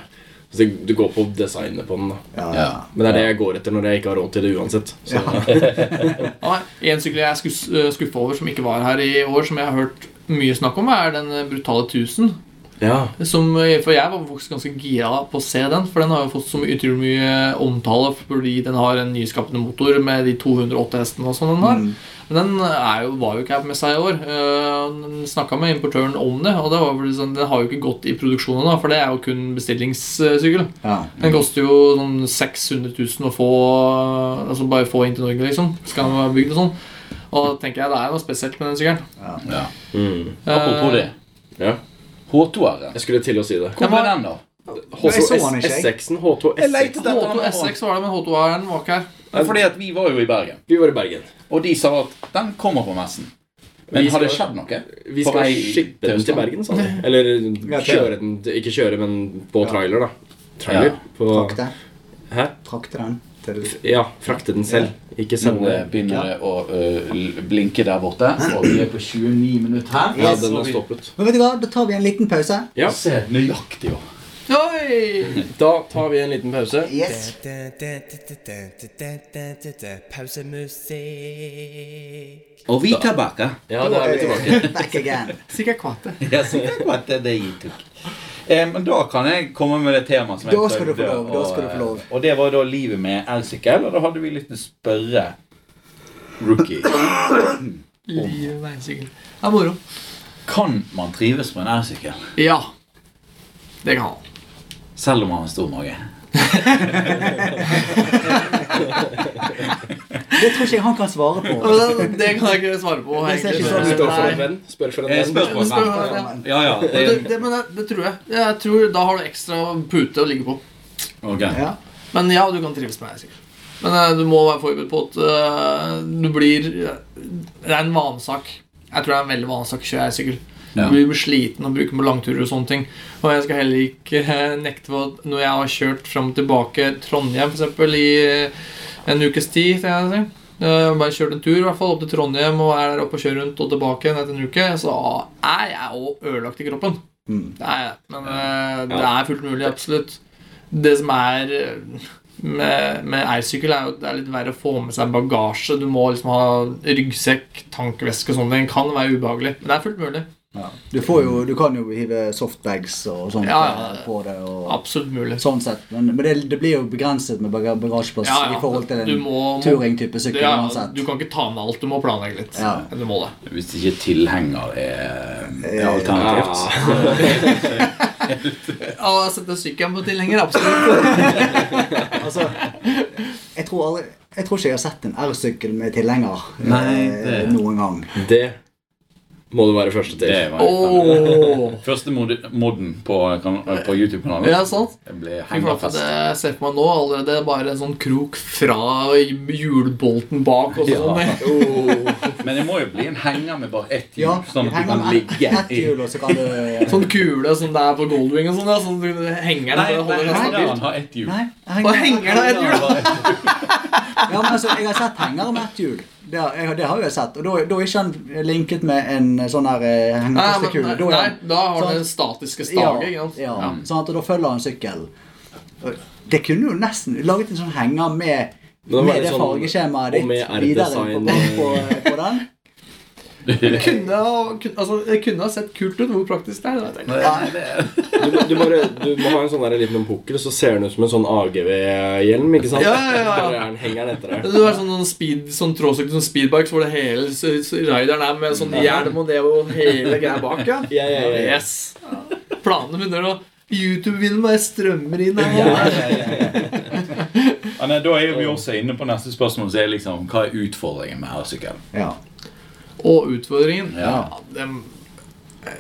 S1: Så det- du går på designet på den. da
S2: Ja.
S4: Ja.
S1: Men det er det jeg går etter når jeg ikke har råd til det uansett. Så,
S3: Ja, nei, en sykkel jeg er skuff, skuffa over som ikke var her i år, som jeg har hørt mye snakk om, er den eh, brutale 1000.
S1: ja.
S3: Som, eh, for jeg var faktisk ganske gira på å se den, for den har jo fått så mye- utrolig mye omtale fordi den har en nyskapende motor med de 208 hestene og sånn den har. Men den eh, er jo, var jo ikke her med seg i år. Uh, Snakka med importøren om det, og det var vel sånn, den har jo ikke gått i produksjon ennå, for det er jo kun bestillingssykkel.
S2: Ja.
S3: Den koster jo sånn 600 000 å få Altså bare få inn til Norge, liksom. Skal den være bygd og sånn. Og da tenker jeg det er noe spesielt med den sykkelen.
S4: ja.
S1: Mm.
S4: Apropos det.
S1: ja.
S4: H2-R-en.
S1: Jeg skulle til å si det.
S4: Hvor ble den, da?
S2: jeg så den ikke, jeg.
S1: S6-en. H2 S6.
S4: etter
S3: H2 S6 var det, men H2R-en var ikke her.
S4: Ja, Fordi at vi var jo i Bergen,
S1: Vi var i Bergen.
S4: og de sa at den kommer på messen. Men
S1: Vi
S4: har det
S1: skal-
S4: skjedd noe?
S1: Vi
S4: På
S1: skal
S4: vei
S1: shippe den til
S4: Østlandet?
S1: Bergen, sa de. Eller
S2: Ja,
S1: kjøre den Ikke kjøre, men på trailer, da. Trailer?
S4: Ja.
S1: På,
S2: Trakte.
S1: Hæ?
S2: Trakte den til
S1: Ja, frakte den selv. Ikke
S4: Nå
S1: sende
S4: eh, begynner det å eh, l- blinke der borte, og vi er på 29 minutter her.
S1: Ja,
S2: Yes.
S1: den har
S4: Og vi-
S1: stoppet.
S2: Men vet du hva, da tar vi en liten pause.
S1: Ja,
S4: Se nøyaktig, jo.
S3: Oi!
S1: Da tar vi en liten pause.
S2: Yes.
S5: Pausemusikk.
S4: Og vi er tilbake.
S1: Ja, da er vi tilbake.
S2: Back again.
S3: Sikkert kvate.
S4: Jeg synes det var det det jeg tok. Eh, men da kan jeg komme med det temaet som jeg
S2: Da skal du få
S4: prøvde
S2: lov, da
S4: å,
S2: skal du få lov.
S4: eh, Og det var da livet med elsykkel, og da hadde vi lyst til å spørre rookie
S3: Livet med en sykkel. Det er moro.
S4: Kan man trives på en elsykkel
S3: Ja. Det kan han.
S4: selv om man har stor mage?
S2: Det tror ikke jeg han kan svare på.
S3: Det det kan jeg ikke svare på.
S2: Det ser ikke
S3: egentlig.
S1: Spør for
S2: sånn ut
S1: en
S3: Nei.
S1: venn. Spør for
S4: Jeg
S1: en
S4: Eh, spør
S1: venn.
S4: på en
S3: Spør-
S4: venn.
S3: ja.
S4: Ja, ja.
S3: Men Det,
S4: Det,
S3: det, men det, det tror jeg. Jeg tror Da har du ekstra pute å ligge på.
S4: ok.
S2: Ja.
S3: Men ja, du kan trives med det. sikkert. Men eh, du må være forberedt på at eh, du blir Det er en vanesak. Jeg tror det er en veldig vanesak å kjøre sykkel. Du
S4: Ja.
S3: blir sliten av å bruke den på langturer og sånne ting. Og jeg skal heller ikke eh, nekte på at når jeg har kjørt fram og tilbake Trondheim for eksempel, i eh, en ukes tid skal jeg si. eh, Bare kjørt en tur i hvert fall opp til Trondheim og er der oppe og kjører rundt og tilbake igjen etter en uke, så er jeg òg ødelagt i kroppen.
S2: Mm.
S3: Det er jeg. Men eh, det er fullt mulig, absolutt. Det som er eh, med, med elsykkel, er jo at det er litt verre å få med seg bagasje. Du må liksom ha ryggsekk, tankveske og sånne ting. Kan være ubehagelig, men det er fullt mulig.
S2: Ja. Du, får jo, du kan jo hive softbags og sånt
S3: Ja, ja.
S2: eh, på det. Og,
S3: Absolutt mulig.
S2: sånn sett. Men, men det, det blir jo begrenset med baga- bagasjeplass
S3: Ja, ja.
S2: i forhold til
S3: Du
S2: en
S3: må-
S2: touring-type
S3: Du,
S2: sykkel
S3: ja,
S2: uansett.
S3: du kan ikke ta med alt, du må planlegge litt.
S2: Ja.
S3: Du må det.
S4: Hvis ikke tilhenger er, er
S2: Eh, Ja.
S4: alternativt.
S3: Ja, Sette sykkelen på tilhenger, absolutt.
S2: Altså, jeg, tror aldri, jeg tror ikke jeg har sett en R-sykkel med tilhenger eh,
S4: Nei, det-
S2: noen gang.
S1: Det må du være første til.
S4: Det var
S3: Åh.
S4: Første mod- modden på, kan- på YouTube-kanalen.
S3: Ja,
S2: sånn.
S3: sant?
S4: Jeg ble
S3: Fy flate,
S4: hengerfest.
S3: det jeg ser på meg nå allerede bare en sånn krok fra hjulbolten bak. og sånn.
S4: Ja.
S1: Oh.
S4: Men det må jo bli en henger med bare ett hjul,
S2: Ja,
S4: sånn at du
S2: henger
S4: kan
S2: med
S4: ligge
S2: ett
S4: i
S2: hjul, og så kan du
S3: Sånn kule som det er på Goldwing og sånn. ja, Sånn du henger den
S4: Nei,
S3: for å holde
S4: nei,
S3: den
S4: henger
S3: stabilt.
S4: han har ett hjul.
S2: Nei,
S3: Og henger det et hjul?
S2: Ja, men altså, Jeg har sett hengere med ett hjul. Det har, jeg, det har jo jeg sett. Og da, da er ikke han linket med en sånn her eh,
S3: Nei, men-
S2: hengerfestekule. Da er
S3: nei,
S2: han-
S3: da har du
S2: sånn-
S3: den statiske
S2: Ja,
S3: staget. ikke sant?
S2: ja. Sånn at da følger han sykkelen. Det kunne jo nesten laget en sånn henger med,
S1: Det var
S2: med det
S1: sånn-
S2: fargeskjemaet ditt
S1: og med
S2: videre på,
S1: R-design. eh.
S2: på, på den.
S3: Det kunne, ha- kun- altså, det kunne ha sett kult ut. Hvor praktisk det er. da, tenker jeg.
S1: Du, må- du, bare, du må ha en sånn der liten pukkel, så ser den ut som en sånn AGV-hjelm. ikke sant?
S3: Ja, ja, ja, ja.
S1: Bare er den henger den etter deg.
S3: Det var sånn, noen speed, sånn tråsykkel som speedbikes, hvor det hele s- s- rideren er med sånn hjelm og det og hele greia bak. ja.
S1: Ja, ja, ja, ja.
S3: Yes. Ja. Planene begynner å YouTube-videoen bare strømmer inn. her nå.
S4: Ja, nei, da er vi også inne på neste spørsmål, som er liksom hva er utfordringen med R-sykkel?
S2: Ja.
S3: Og utfordringen
S4: Ja.
S3: ja,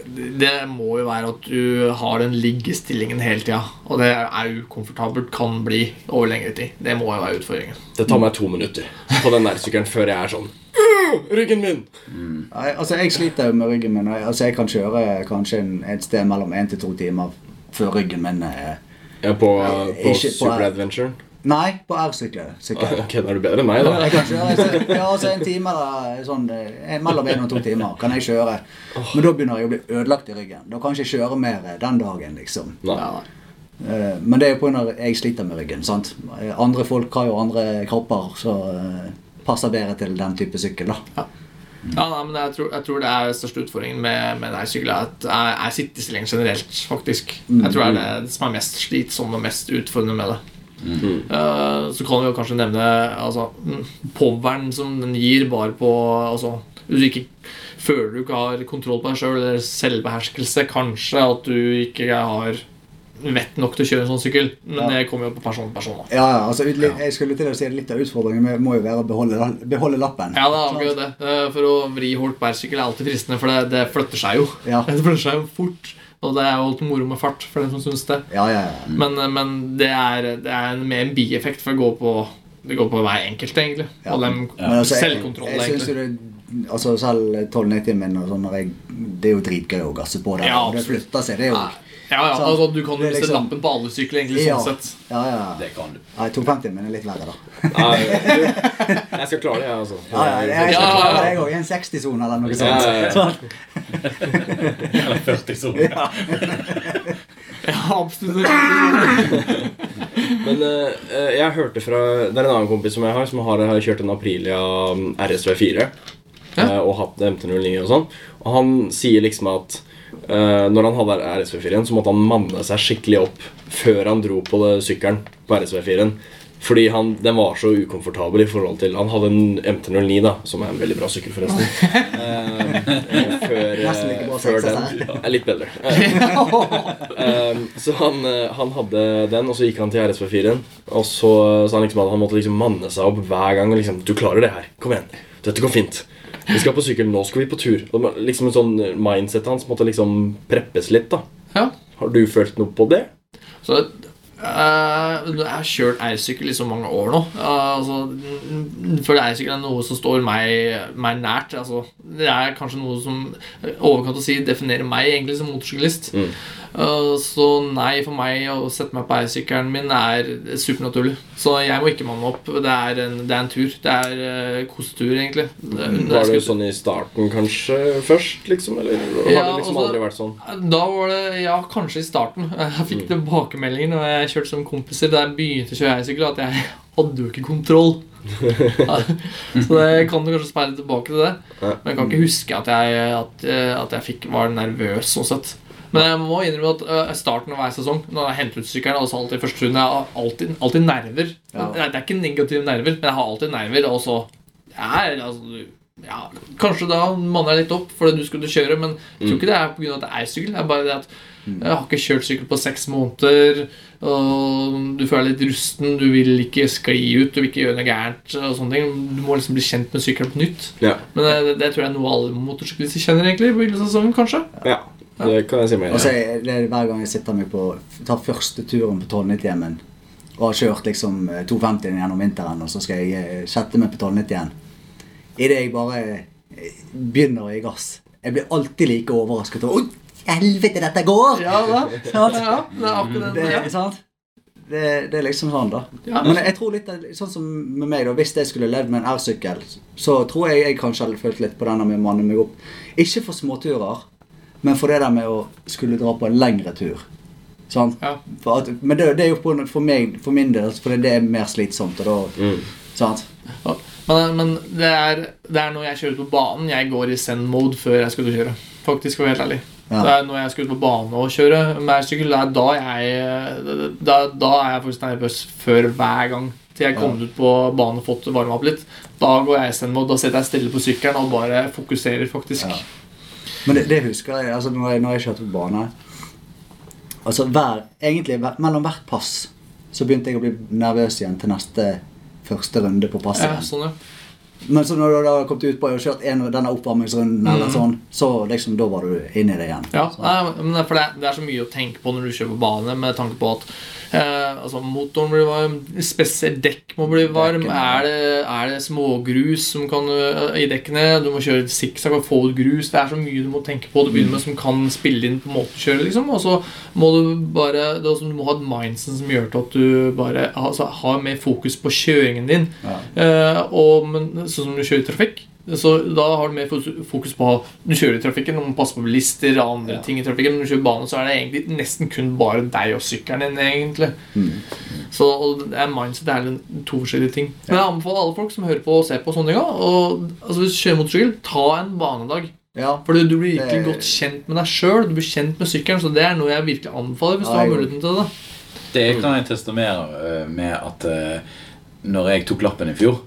S3: det, det må jo være at du har den liggestillingen hele tida. Og det er ukomfortabelt, kan bli over lengre tid. Det må jo være utfordringen.
S1: Det tar meg to minutter på den der sykkelen før jeg er sånn «Åh, Ryggen min!
S2: Nei, Altså, jeg sliter jo med ryggen min. og Jeg, altså, jeg kan kjøre kanskje en, et sted mellom én til to timer før ryggen min eh,
S1: Jeg er på, på
S2: Ikke på-
S1: Super Adventure.
S2: Nei, på R-sykler. sykkel.
S1: Ok, da er du bedre enn meg, da.
S2: Jeg kan kjøre altså, ja, altså en time eller sånn, eh, mellom én og to timer. kan jeg kjøre. Men da begynner jeg å bli ødelagt i ryggen. Da kan jeg ikke kjøre mer eh, den dagen, liksom.
S1: Nei.
S3: Ja,
S2: Eh, Men det er jo pga. at jeg sliter med ryggen. sant? Eh, Andre folk har jo andre kropper, så eh, passer bedre til den type sykkel. da.
S3: ja nei, men jeg tror, jeg tror det er største utfordringen med, med sykkel, at er, er sittestillingen generelt, faktisk. Jeg tror det er det som er mest slitsomt og mest utfordrende med det. Eh, så kan vi jo kanskje nevne altså, mm, poweren som den gir bare på altså, Hvis du ikke føler du ikke har kontroll på deg sjøl, eller selvbeherskelse, kanskje at du ikke har vett nok til å kjøre en sånn sykkel. Men
S2: Ja.
S3: det kommer jo på person til person. da.
S2: Ja, ja, altså, ut- Jeg skulle til å si at litt av utfordringen med- må jo være å beholde, beholde lappen.
S3: Ja, det er akkurat det. Eh, For å vri Holt bærsykkel er alltid fristende, for det, det flytter seg jo.
S2: Ja.
S3: Det flytter seg jo fort, og det er jo alt moro med fart, for den som syns det.
S2: Ja, ja, ja.
S3: Men, eh, men det er, det er en, mer en bieffekt for å gå på det går på hver enkelt, egentlig.
S2: Ja.
S3: Og dem,
S2: Men altså, jeg,
S3: selvkontroll,
S2: jeg synes jo
S3: egentlig.
S2: det, altså Selv 1290 min og sånn, når jeg, det er jo dritgøy å gasse på der.
S3: Ja,
S2: og det
S3: absolutt.
S2: flytter seg, det er jo
S3: Ja, ja,
S2: sant.
S3: altså, du kan jo
S2: Det er
S3: miste
S2: liksom-
S3: lappen på alle sykler, egentlig,
S2: Ja,
S3: sånn sett.
S2: ja, ja.
S4: Det kan du.
S2: Nei, 250 min er litt verre, da.
S1: Nei, du, jeg skal klare det, jeg, altså.
S2: Ja, ja, jeg
S3: Ja,
S2: skal
S3: ja, ja.
S2: klare deg òg i en 60-sone eller noe
S1: Ja,
S2: sånt.
S1: ja, ja.
S2: Sånn.
S4: Eller 40 soner.
S2: Ja.
S3: Ja, absolutt.
S1: Men eh, eh, jeg hørte fra Det er en annen kompis som jeg har, som har har kjørt en Aprilia mm, RSV4. eh, og hatt MT09 og sånn. Og han sier liksom at eh, når han hadde RSV4-en, så måtte han manne seg skikkelig opp før han dro på det sykkelen på RSV4-en. Fordi han, den var så ukomfortabel i forhold til Han hadde en MT09, da, som er en veldig bra sykkel, forresten. Eh, før, eh,
S2: Nesten like bra
S1: før
S2: sekser,
S1: den. Er litt bedre. Eh, eh, så han, eh, han hadde den, og så gikk han til RSV4-en. Og så, så han, liksom, hadde- han måtte liksom manne seg opp hver gang. Og liksom, 'Du klarer det her. Kom igjen. Dette går fint.' Vi skal på sykkel, nå skal vi på tur. Og man- liksom en sånn Mindsetet hans måtte liksom preppes litt. da
S3: Ja.
S1: Har du følt noe på det?
S3: Så eh, jeg har kjørt eirsykkel i så mange år nå. Eh, altså, n- for eirsykkel er noe som står meg, meg nært. Altså, det er kanskje noe som eh, overkant å si definerer meg egentlig som motorsyklist.
S1: Mm.
S3: Eh, så nei, for meg å sette meg på eiersykkelen min er supernaturlig. Så jeg må ikke manne opp. Det er en, det er en tur. Det er eh, kosetur, egentlig. Det-
S1: Var det sånn i starten kanskje først, liksom? Eller har
S3: Ja,
S1: det liksom
S3: og så-
S1: aldri vært sånn?
S3: Da var det Ja, kanskje i starten. Jeg fikk
S1: Mm.
S3: tilbakemeldinger når jeg kjørte som kompiser da jeg begynte å kjøre eiersykkel, at jeg hadde jo ikke kontroll. Så det kan du kanskje speile tilbake til det.
S1: Ja.
S3: Men jeg kan ikke huske at jeg, at, eh, at jeg fikk, var nervøs sånn sett. Men jeg må innrømme at eh, starten av hver sesong Når jeg henter ut sykkelen, og så alltid første runde Jeg har alltid, alltid nerver.
S2: Ja.
S3: Det, er, det er ikke negative nerver, men jeg har alltid nerver. Og så jeg er, altså, ja, Kanskje da manner jeg litt opp fordi du skulle kjøre, men jeg tror ikke det er pga. at det er sykkel. Det er bare det at jeg har ikke kjørt sykkel på seks måneder. Og du føler deg litt rusten, du vil ikke skli ut, du vil ikke gjøre noe gærent. og sånne ting Du må liksom bli kjent med sykkelen på nytt.
S1: Ja.
S3: Men eh, det, det tror jeg er noe alle motorsyklister kjenner egentlig i begynnelsen av sesongen, kanskje.
S1: ja. Det kan jeg si meg
S2: Og så
S1: enig i.
S2: er det hver gang jeg sitter meg på Tar første turen på Tollnytthjemmen og har kjørt liksom eh, 250 gjennom vinteren, og så skal jeg eh, sette meg på Tollnytt igjen. Idet jeg bare eh, begynner i gass. Jeg blir alltid like overrasket over Å, helvete, dette går!
S3: Ja da. Ja,
S2: Sant?
S3: det er akkurat
S2: Det,
S3: det. Ja.
S2: sant? Det, det er liksom sånn, da.
S3: Mm, Ja.
S2: Men jeg tror litt, av- sånn som med meg da, Hvis jeg skulle levd med en R-sykkel, så tror jeg jeg kanskje hadde følt litt på denne med å manne meg opp. Ikke for småturer, men for det der med å skulle dra på en lengre tur. Sant?
S3: Ja.
S2: For at, men det, det er jo på, for meg, for min del, for det er mer slitsomt. Og da,
S1: Mm.
S2: sant?
S3: Ja. Men, men det, er, det er når jeg kjører ut på banen jeg går i send-mode før jeg skal ut og kjøre. Faktisk, for å være helt ærlig.
S2: Ja.
S3: Det er når jeg skal ut på bane og kjøre med airsykkel, det er da jeg da, da er jeg faktisk nervøs før hver gang. Til jeg
S2: Ja.
S3: kommer ut på banen og fått varma opp litt. Da går jeg i send-mode. Da sitter jeg stille på sykkelen og bare fokuserer, faktisk.
S2: Ja. Men det, det husker jeg, altså når jeg, når jeg kjørte på bane Altså hver, egentlig hver, mellom hvert pass så begynte jeg å bli nervøs igjen til neste første runde på passet.
S3: Ja, sånn, ja.
S2: Men så når du da kom til utpå og kjørt en, denne oppvarmingsrunden,
S3: Mm.
S2: eller sånn, så liksom da var du inne i det igjen.
S3: Ja, nei, men det er, for det, er- det er så mye å tenke på når du kjører på bane, med tanke på at eh, altså, motoren blir varm, spesielt dekk må bli varm,
S2: Dekken, ja.
S3: er det, er det smågrus som kan, eh, i dekkene, du må kjøre sikksakk og få ut grus, det er så mye du må tenke på, du begynner
S2: Mm.
S3: med som kan spille inn på måten du kjører, liksom, og så må du bare, det er også, du må ha et mindset som gjør til at du bare altså, har mer fokus på kjøringen din,
S2: Ja.
S3: Eh, og, men, sånn som du kjører i trafikk. Så da har du mer fos- fokus på Du kjører i trafikken, du må passe på bilister og andre
S2: Ja.
S3: ting i trafikken. Men når du kjører bane, så er det egentlig nesten kun bare deg og sykkelen din, egentlig.
S2: Mm.
S3: Så og det er mindset det er en- to forskjellige ting. Men jeg anbefaler alle folk som hører på, å se på sånne ting også, Og altså, hvis du kjører motorsykkel, ta en banedag.
S2: Ja.
S3: For du blir virkelig
S2: Det-
S3: godt kjent med deg sjøl. Du blir kjent med sykkelen, så det er noe jeg virkelig anbefaler hvis du
S2: Ja,
S3: har
S2: jeg-
S3: muligheten til det.
S4: Det kan jeg testamere eh, med at eh, når jeg tok lappen i fjor,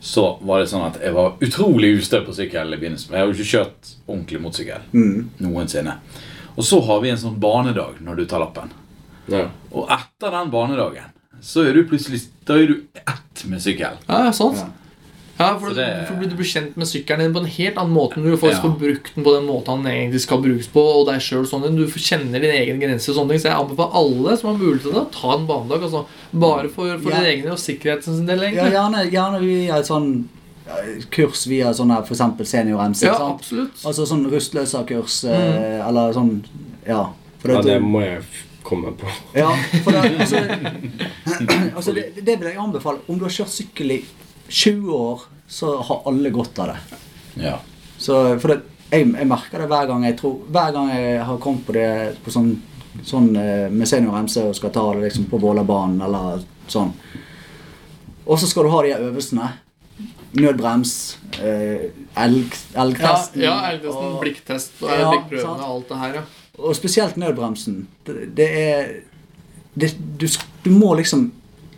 S4: så var det sånn at jeg var utrolig ustø på sykkel i begynnelsen. Jeg har jo ikke kjørt ordentlig motorsykkel
S2: Mm.
S4: noensinne. Og så har vi en sånn banedag når du tar lappen.
S1: Ja.
S4: Og etter den banedagen så er du plutselig da er du ett med sykkel.
S3: Ja, ja, sant.
S2: Ja.
S3: Ja, for,
S4: Så det-
S3: for Du blir kjent med sykkelen din på en helt annen måte når du faktisk
S4: Ja.
S3: får brukt den på den måten den egentlig skal brukes på. og deg selv, og sånne ting. Du kjenner din egen grense. og sånne ting, Så jeg anbefaler alle som har mulighet til det, å ta en banedag. altså, Bare for, for
S2: Ja.
S3: din egen og sikkerhetens del.
S2: ja,
S3: egentlig.
S2: gjerne, gjerne via et sånn ja, kurs via sånn her for eksempel senior-MC,
S3: Ja, Mm.
S2: sant?
S3: absolutt.
S2: Altså sånn rustløserkurs, eh, eller sånn, ja. For
S1: ja,
S2: at du-
S1: det må jeg f- komme på.
S2: Ja, for det, altså, altså det, det vil jeg anbefale. Om du har kjørt sykkel i 20 år, så har alle godt av det.
S4: Ja.
S2: Så, for det, jeg, jeg merker det hver gang jeg tror Hver gang jeg har kommet på det på sånn, sånn eh, med senior MC og skal ta det liksom på Vålerbanen eller sånn. Og så skal du ha de her øvelsene. Nødbrems, eh, elg,
S3: Ja,
S2: elgtesten
S3: ja Elgesen, blikktest og
S2: Ja, sant.
S3: blikkprøvene og alt det her, ja.
S2: og spesielt nødbremsen. Det, det er det, du, sk- du må liksom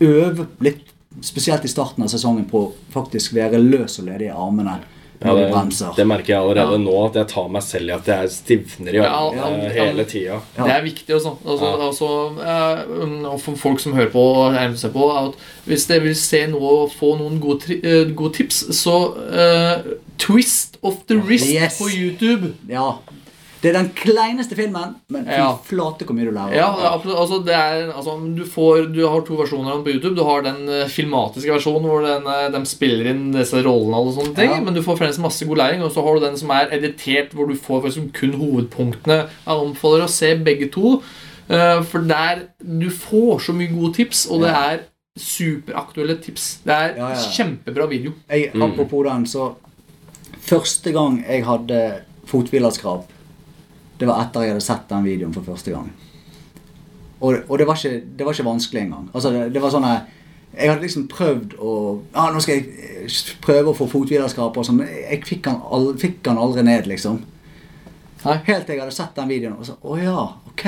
S2: øve litt, spesielt i starten av sesongen, på å faktisk være løs og ledig i armene
S1: Ja,
S2: når du
S1: det,
S2: bremser.
S1: det merker jeg allerede
S3: Ja.
S1: nå, at jeg tar meg selv i at jeg stivner i
S3: Ja,
S1: armene
S3: ja, ja.
S1: hele tida.
S2: Ja.
S3: Det er viktig også. Altså,
S1: Ja.
S3: altså, eh, um, og for folk som hører på og er med seg på, at hvis dere vil se noe og få noen gode, tri eh, gode tips, så eh, Twist of the Wrist
S2: Yes.
S3: på YouTube.
S2: Ja. Det er den kleineste filmen, men fy
S3: Ja.
S2: flate hvor mye du lærer.
S3: Ja, det er absolutt, altså, det er, altså, du, får, du har to versjoner av den på YouTube. Du har den eh, filmatiske versjonen hvor den, eh, de spiller inn disse rollene. og alle sånne ting
S2: Ja.
S3: Men du får fremdeles masse god læring. Og så har du den som er editert, hvor du får faktisk kun hovedpunktene. Jeg anbefaler å se begge to. eh, For der du får så mye gode tips, og det
S2: Ja.
S3: er superaktuelle tips. Det er
S2: Ja, ja.
S3: kjempebra video.
S2: Jeg, apropos den, så Første gang jeg hadde fothvilerskrap, det var etter jeg hadde sett den videoen for første gang. Og, og det, var ikke, det var ikke vanskelig engang. Altså, det, det var sånn her- Jeg hadde liksom prøvd å ah, Nå skal jeg eh, prøve å få fothvilerskrap, og sånn, men jeg fikk han, al- fikk han aldri ned, liksom.
S3: Nei.
S2: Helt til jeg hadde sett den videoen, og så Å ja, ok.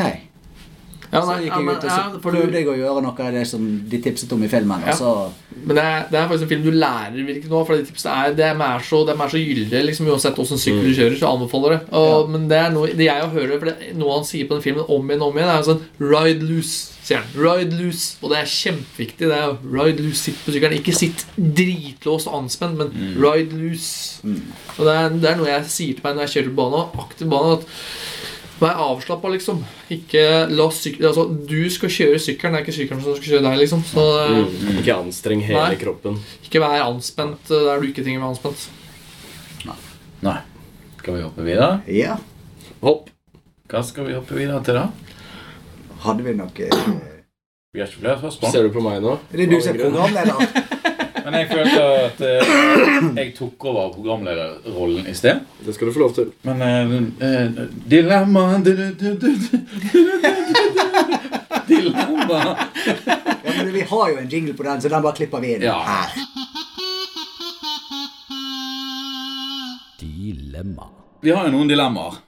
S3: Ja,
S2: Så
S3: nei,
S2: gikk
S3: ja,
S2: jeg
S3: men-
S2: ut og
S3: ja,
S2: så
S3: for du-
S2: prøvde jeg å gjøre noe av det som de tipset om i filmen.
S3: Ja.
S2: Og så
S3: Men det er, det er faktisk en film du lærer virkelig nå. For de tipsene er, de er så, de er så gyldige liksom, uansett åssen sykkel du kjører. så anbefaler det og, Men det er noe det jeg hører For det er noe han sier på den filmen om igjen og om igjen, er sånn Ride loose, sier han. Ride loose. Og det er kjempeviktig. Det er Ride loose, Sitt på sykkelen. Ikke sitt dritlåst og anspent, men ride loose. Og det er, det er noe jeg sier til meg når jeg kjører på bane, aktiv bane. at Vær avslappa, liksom. Ikke la syk- altså, du skal kjøre sykkelen, det er ikke sykkelen som skal kjøre deg. liksom Så det,
S1: Mm. Ikke anstreng hele
S3: Nei.
S1: kroppen.
S3: ikke vær anspent eh, der du ikke trenger å være anspent.
S4: Nei. Skal vi hoppe videre?
S2: ja.
S1: Hopp.
S4: Hva skal vi hoppe videre til, da?
S2: Hadde vi noe eh,
S4: Vi har ikke flere spørsmål.
S1: Ser du på meg nå?
S2: Det er du som er programleder.
S4: Men jeg følte at eh, jeg tok over programlederrollen i sted.
S1: Det skal du få lov til.
S4: Men eh, eh, Dilemma du, du, du, du, du, du, du, du, Dilemma
S2: Ja, men vi har jo en jingle på den, så den bare klipper vi inn.
S4: Ja.
S2: Her.
S4: Vi har jo noen dilemmaer.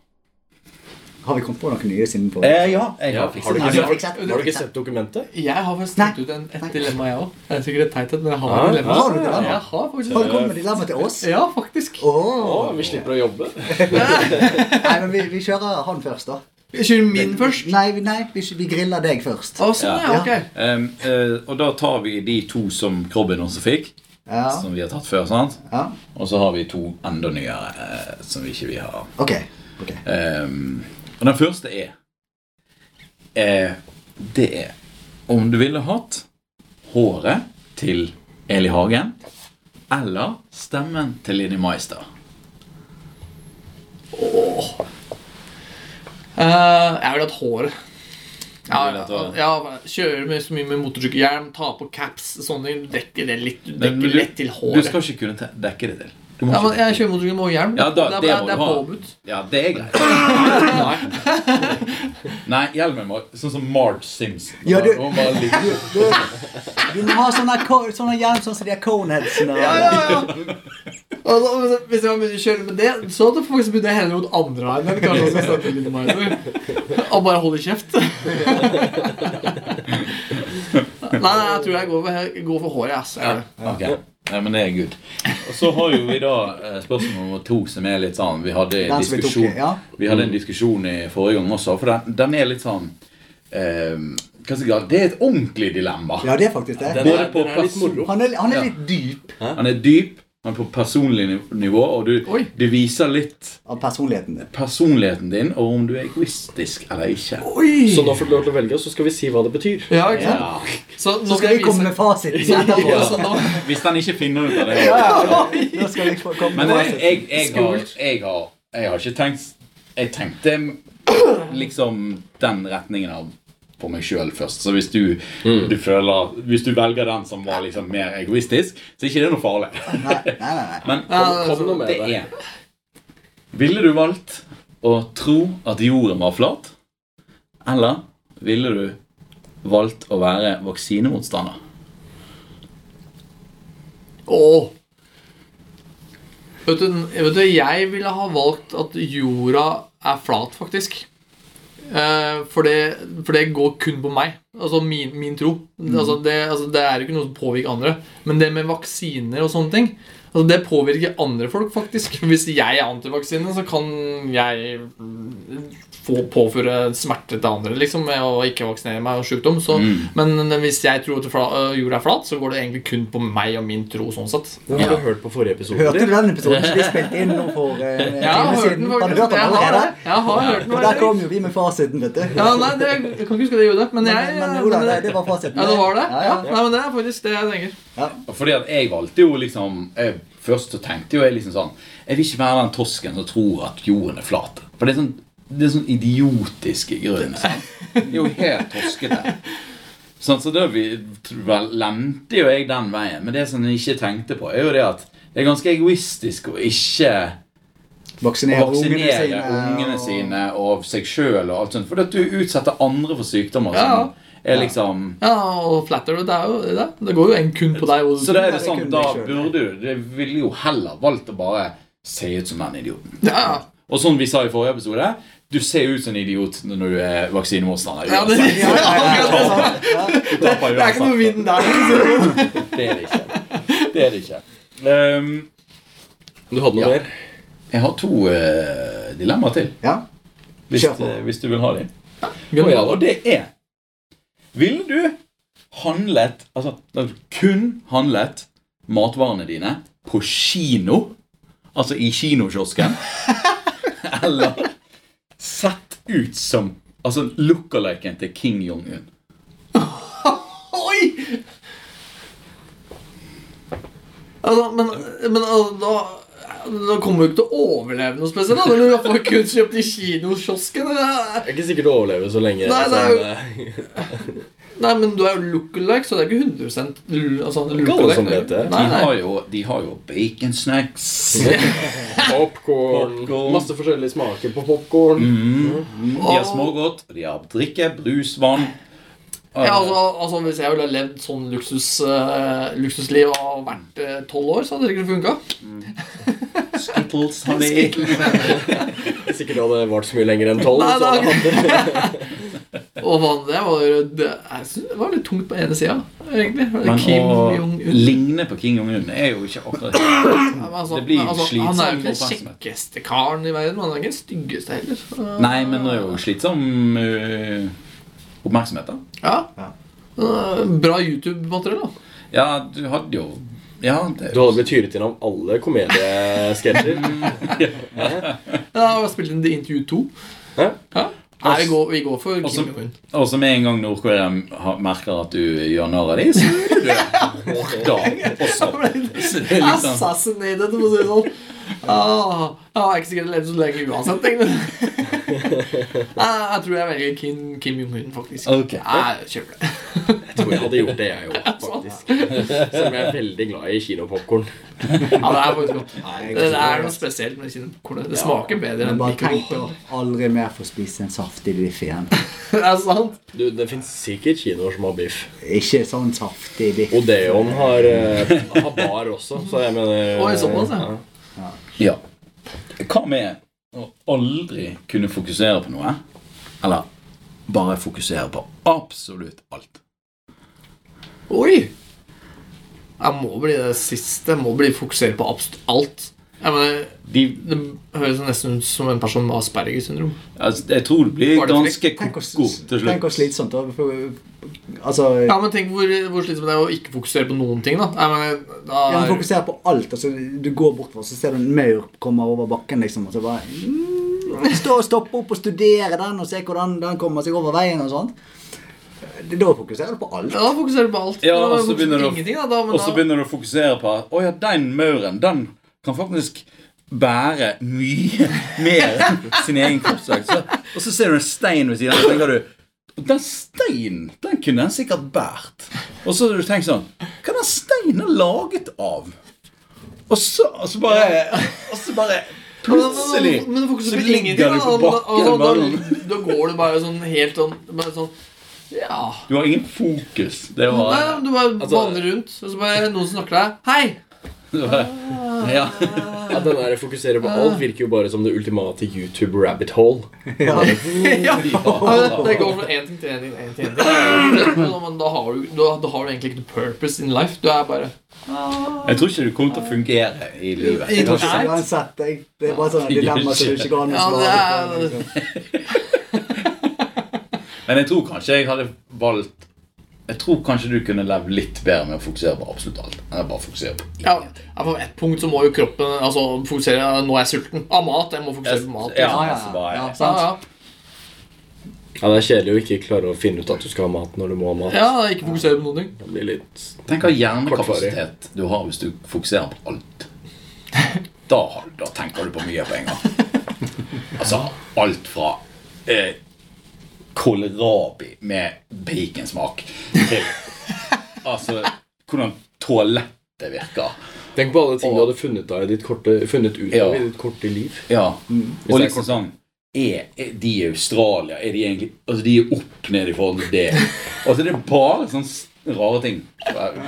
S2: Har vi kommet på noen nye siden på
S4: Eh, ja, jeg
S1: Ja,
S4: har
S1: har, du
S4: fikset
S1: ikke
S4: det.
S2: fikset-
S1: sett, har du ikke sett dokumentet?
S3: Jeg har faktisk
S2: Nei.
S3: tenkt ut en, et
S2: Nei.
S3: dilemma, jeg òg. Det er sikkert et teit et, men jeg har
S1: Ah,
S3: et dilemma.
S2: har du dilemma?
S3: Jeg har faktisk
S2: Har du kommet med dilemma til
S1: Eh,
S2: oss?
S3: Ja, faktisk.
S1: Å,
S2: Åh.
S1: vi slipper å jobbe.
S2: Nei, men vi, vi kjører han først, da.
S3: Jeg kjører min først.
S2: Nei, vi- nei vi, vi griller deg først.
S3: Å, sånn, ja.
S2: Ja.
S3: Ok.
S4: Em, eh, og da tar vi de to som Krobben også fikk,
S2: Ja.
S4: som vi har tatt før. sant?
S2: ja.
S4: Og så har vi to enda nyere eh, som vi ikke vi har.
S2: Ok. ok.
S4: Em, og den første er eh, Det er om du ville hatt håret til Eli Hagen eller stemmen til Linni Meister.
S3: Eh, jeg vil hatt håret. Ja,
S4: Du vil hatt
S3: ja,
S4: håret.
S3: ja, kjøre med så mye med motorsykkelhjelm, ta på caps sånne ting. Du dekker det litt, du
S4: Men
S3: dekker
S4: du-
S3: lett til
S4: Du
S3: håret.
S4: skal ikke kunne te- dekke det til. Du må
S3: Ja, men
S4: ikke-
S3: Jeg kjører motorsykkel med hjelm.
S4: Ja, da-
S3: det, er,
S4: det
S3: det,
S4: må
S3: er, det
S4: du
S3: er
S4: ha.
S3: påbudt.
S4: Ja, det er greit. Nei, Nei hjelmen må Sånn som Marge Simpson.
S2: Ja, du-
S4: Hun bare ligger-
S2: Du, du må ha sånne, ko- sånne hjelm sånn som de har coneheadsene.
S3: Ja, ja, ja. Altså, hvis- hvis jeg begynner å kjøre med det, så hadde jeg faktisk begynner jeg heller mot andre veien. enn Kanskje også støtte litt meg, eller? og bare holde kjeft. Nei, nei, jeg tror jeg går for, går for håret. Ass. Jeg altså. gjør det.
S4: Ok, Nei, men det er good. Og så har jo vi da eh, spørsmål nummer to, som er litt sånn Vi hadde, en
S2: Den som vi tok,
S4: diskusjon,
S2: ja.
S4: vi hadde en diskusjon i forrige gang også, for den, den er litt sånn eh, Hva skal jeg si, Det er et ordentlig dilemma.
S2: Ja, det er faktisk det.
S1: Den
S4: Både
S1: er,
S4: på
S1: den er litt
S4: person-
S1: moro.
S2: Han er, han
S4: Ja.
S2: er litt dyp
S4: Han er dyp, men på personlig niv- nivå, og
S3: Oi.
S4: du, du viser litt
S2: av personligheten din.
S4: personligheten din, og om du er egoistisk eller ikke.
S1: Så nå får du lov til å velge, og så skal vi si hva det betyr.
S3: Ja, ikke sant?
S4: Ja.
S3: Så nå skal
S2: Så skal
S3: jeg
S2: vi komme med
S3: vise
S2: fasiten etterpå.
S3: Ja, så nå-
S4: Hvis den ikke finner ut av det.
S2: Nå skal vi få komme
S4: Men
S2: med
S4: jeg,
S2: fasiten.
S4: jeg, jeg, har, jeg, har, jeg har ikke tenkt Jeg tenkte liksom den retningen av på meg sjøl først. Så hvis du, du føler Hvis du velger den som var liksom mer egoistisk, så er ikke det noe farlig.
S2: Nei, nei, nei. nei.
S4: Men
S3: Ja,
S1: Kom nå med
S4: det
S1: det.
S4: er Ville du valgt å tro at jorden var flat, eller ville du valgt å være vaksinemotstander?
S3: Åh. Vet du, vet du, jeg ville ha valgt at jorda er flat, faktisk. Eh, for, det, for det går kun på meg. Altså min, min tro. Altså, det, altså, det er jo ikke noe som påvirker andre. Men det med vaksiner og sånne ting Altså Det påvirker andre folk, faktisk. Hvis jeg er antivaksine, så kan jeg mm, få påføre smerte til andre liksom, med å ikke vaksinere meg og sykdom. Så,
S4: Mm.
S3: Men hvis jeg tror at fla, øh, jorda er flat, så går det egentlig kun på meg og min tro. sånn sett
S1: Den har du hørt på forrige episode.
S2: Hørte du
S1: eller?
S2: den episoden som vi spilte inn nå for eh, en
S3: Jeg har
S2: time
S3: hørt den
S2: siden? Har du
S3: faktisk.
S2: hørt den
S3: Jeg har,
S2: allerede?
S3: jeg har hørt den
S2: For der
S3: allerede.
S2: kom jo vi med fasiten, vet du.
S3: Ja, nei, det, Jeg kan ikke huske det gjorde, men jeg
S2: men, men jo da, det, det var fasiten.
S3: Ja, det var det?
S2: Ja,
S3: Ja,
S2: ja.
S3: Nei, men det er faktisk det jeg tenker.
S4: Fordi at jeg valgte jo liksom jeg, Først så tenkte jo jeg liksom sånn Jeg vil ikke være den tosken som tror at jorden er flat. For det er sånn, det er sånn idiotiske grunner. sant? Det er jo helt toskete. Sånn, så da vi, vel, lemte jo jeg den veien. Men det som jeg ikke tenkte på, er jo det at det er ganske egoistisk å ikke
S2: Vaksinere ungene
S4: vaksinere
S2: sine.
S4: ungene
S2: og-
S4: sine og seg sjøl og alt sånt. For at du utsetter andre for sykdommer
S3: Ja.
S4: som er liksom
S3: Ja, og flatter, det er jo det. Det går jo egentlig kun på deg. Og,
S4: Så da er
S2: Nei,
S4: det
S2: det
S4: sånn,
S2: kunne
S4: da
S2: jeg ikke
S4: burde du Det ville jo heller valgt å bare se ut som den idioten.
S3: ja, ja.
S4: Og som vi sa i forrige episode, du ser ut som en idiot når du er vaksinemotstander.
S3: Ja, det,
S4: uansett.
S3: ja,
S2: Ja, ja, ja,
S3: akkurat det.
S2: ja.
S4: Du taper
S3: det er ikke noe
S4: uansett.
S3: vinn der.
S4: Det er det ikke. Det er det ikke. Ehm,
S1: Du hadde noe
S4: Ja.
S1: mer?
S4: jeg har to eh, dilemmaer til,
S2: Ja.
S4: hvis,
S2: Kjør på.
S4: eh, hvis du vil ha dem.
S3: Gunn,
S4: Og, ja, og det er Ville du handlet Altså kun handlet matvarene dine på kino? Altså i kinokiosken? Eller sett ut som Altså lookaliken til King Jong-un?
S3: Oi! Altså, men men altså, da da kommer du ikke til å overleve noe spesielt. da, Når du har fått kun kjøpt i kinokiosken. eller?
S1: Det er ikke sikkert du overlever så lenge.
S3: Nei, det er jo-
S1: sånn, eh,
S3: Nei, men du er jo lookalike, så det er ikke 100 l- altså,
S1: alle som vet det.
S4: De
S3: Nei, nei.
S4: har jo, de har jo bacon snacks.
S1: Popcorn.
S4: Popcorn. Mm.
S1: Masse forskjellige smaker på popkorn.
S3: Mm.
S4: De har smågodt, og de har drikke, brus, vann.
S3: Ja, altså, altså Hvis jeg ville ha levd sånn luksus, eh, luksusliv og vært eh, tolv år, så hadde det ikke funka.
S4: Øh, Skittles har de.
S1: Det er Sikkert hadde vart så mye lenger enn tolv.
S3: Nei,
S1: så hadde
S3: nei.
S1: han-
S3: Og hva- det var, det, jeg synes det var litt tungt på ene sida, egentlig.
S4: Men
S3: Kim
S4: å
S3: Jong-un.
S4: ligne på King Jong-un er jo ikke akkurat
S3: Ja, men Altså,
S4: det blir
S3: Han er jo
S4: slitsomt
S3: ikke den
S4: oppmerksomhet.
S3: kjekkeste karen i verden, men han er ikke den styggeste heller. Så-
S4: Nei, men det er jo slitsom eh, oppmerksomhet, da.
S3: Ja.
S2: Ja.
S3: Eh, Bra YouTube-materiell, da.
S4: Ja, du hadde jo Ja, det
S1: Du hadde blitt hyret inn av alle komediesketsjer.
S3: Ja, jeg har spilt inn The Interview 2.
S1: Hæ?
S3: Ja. Nei, vi går, vi går for
S4: Og så-
S3: Kim Jong-un.
S4: Og så med en gang Nord-Korea har- merker at du gjør narr av dem, så er du død. da også. Så det er
S3: Altså.
S4: liksom
S3: Assassinated, for å si det sånn. Ah, jeg har ikke sikkert levd så lenge uansett, egentlig. Nei, jeg tror jeg velger Kim, Kim Jong-un, faktisk.
S4: Ok.
S3: Jeg kjører det.
S1: Jeg tror jeg hadde gjort det, jeg òg, faktisk. Selv om jeg er veldig glad i kinopopkorn.
S3: Ja, det er faktisk godt.
S2: Nei, jeg-
S3: Det er noe spesielt med kinokålen. Det smaker bedre
S2: Men
S3: enn
S2: bare tenk på
S3: mikrobølgen.
S2: aldri mer få spise en saftig biff igjen.
S3: Det er sant.
S1: Du, Det fins sikkert kinoer som har biff.
S2: Ikke sånn saftig biff.
S1: Odeon har, eh, har bar også, så jeg mener
S3: Oi, såpass, ja.
S1: ja.
S4: Ja. Hva med å aldri kunne fokusere på noe? Eller bare fokusere på absolutt alt?
S3: Oi! Jeg må bli det siste. Jeg må bli fokusert på absolutt alt. Jeg mener,
S4: De,
S3: det høres nesten ut som en person med Aspergers syndrom.
S4: altså, jeg tror det blir
S3: Var det
S4: ganske
S2: Tenk hvor-
S4: ko-ko til
S2: Tenk hvor
S4: slutt.
S2: slitsomt da, for- Altså
S3: Ja, men tenk hvor, hvor slitsomt det er å ikke fokusere på noen ting, da. Jeg mener, da
S2: Ja, men fokuser på alt. Altså, du går bortover, så ser du en maur komme over bakken. liksom, og så bare mm, Stå og stoppe opp og studere den og se hvordan den kommer seg over veien. og sånt. Det- Da fokuserer du på alt.
S3: Ja, da fokuserer du på alt.
S4: Ja,
S3: Da
S4: og så
S3: fokuserer
S4: begynner
S3: du
S4: du
S3: på
S4: å-
S3: ingenting, da, da, men
S4: Og så
S3: da-
S4: begynner du å fokusere på at ja, den mauren den kan faktisk bære mye mer enn sin egen kroppsvekt. Så, og så ser du en stein ved siden av, og så tenker du den steinen den kunne den sikkert båret. Og så har du tenkt sånn Hva er den steinen laget av? Og så, og så bare Og så bare plutselig
S3: Men, men, men fokuserer
S4: så
S3: på ingenting,
S4: ligger du på
S3: da, da,
S4: bakken.
S3: da,
S4: bare sånn.
S3: da, da går du bare sånn helt sånn, bare sånn Ja.
S4: Du har ingen fokus. Det
S3: Nei,
S4: var
S3: du bare
S1: Altså-
S3: vandrer rundt, og så bare er det noen som snakker til deg. Hei!
S4: det var- Ja.
S1: Ja, den der fokuserer på alt virker jo bare som det ultimate YouTube rabbit hole.
S2: Ja.
S3: ja. Det går fra én ting til én ting. En ting, en ting. Men da har, du, da, da har du egentlig ikke noe purpose in life. Du er bare
S4: Jeg tror ikke du kommer til å fungere i livet.
S3: I-
S4: Jeg tror ikke-
S3: Nei.
S2: Uansett. jeg- Det er bare sånne dilemmaer som du ikke går an å
S3: Ja,
S2: svare på.
S3: det er-
S2: liksom.
S4: Men jeg tror kanskje jeg hadde valgt Jeg tror kanskje du kunne levd litt bedre med å fokusere på absolutt alt. Enn å bare fokusere på
S3: Ja,
S4: ingenting.
S3: ja, på ett punkt så må jo kroppen altså, fokusere Nå er jeg sulten. Av mat. Jeg må fokusere på mat.
S4: Ja,
S2: Ja, ja,
S4: altså bare-
S2: ja.
S3: Så, ja,
S1: Ja, Det er kjedelig å ikke klare å finne ut at du skal ha mat når du må ha mat.
S3: ja, ja, ikke fokusere på noen ting.
S1: Det blir litt
S4: Tenk hva hjernekapasitet du har hvis du fokuserer på alt. Da, har- da tenker du på mye på en gang. Altså alt fra eh, kålrabi med baconsmak til Altså hvordan toalettet virker.
S1: Tenk på alle ting du hadde funnet, av i ditt korte, funnet ut
S4: Ja.
S1: av i ditt korte liv.
S4: Ja.
S1: Hvis det
S4: Og
S1: er
S4: liksom sånn er, er de i Australia? Er de egentlig Altså, de er opp ned i forhold til det. Altså, det er bare sånne s- rare ting.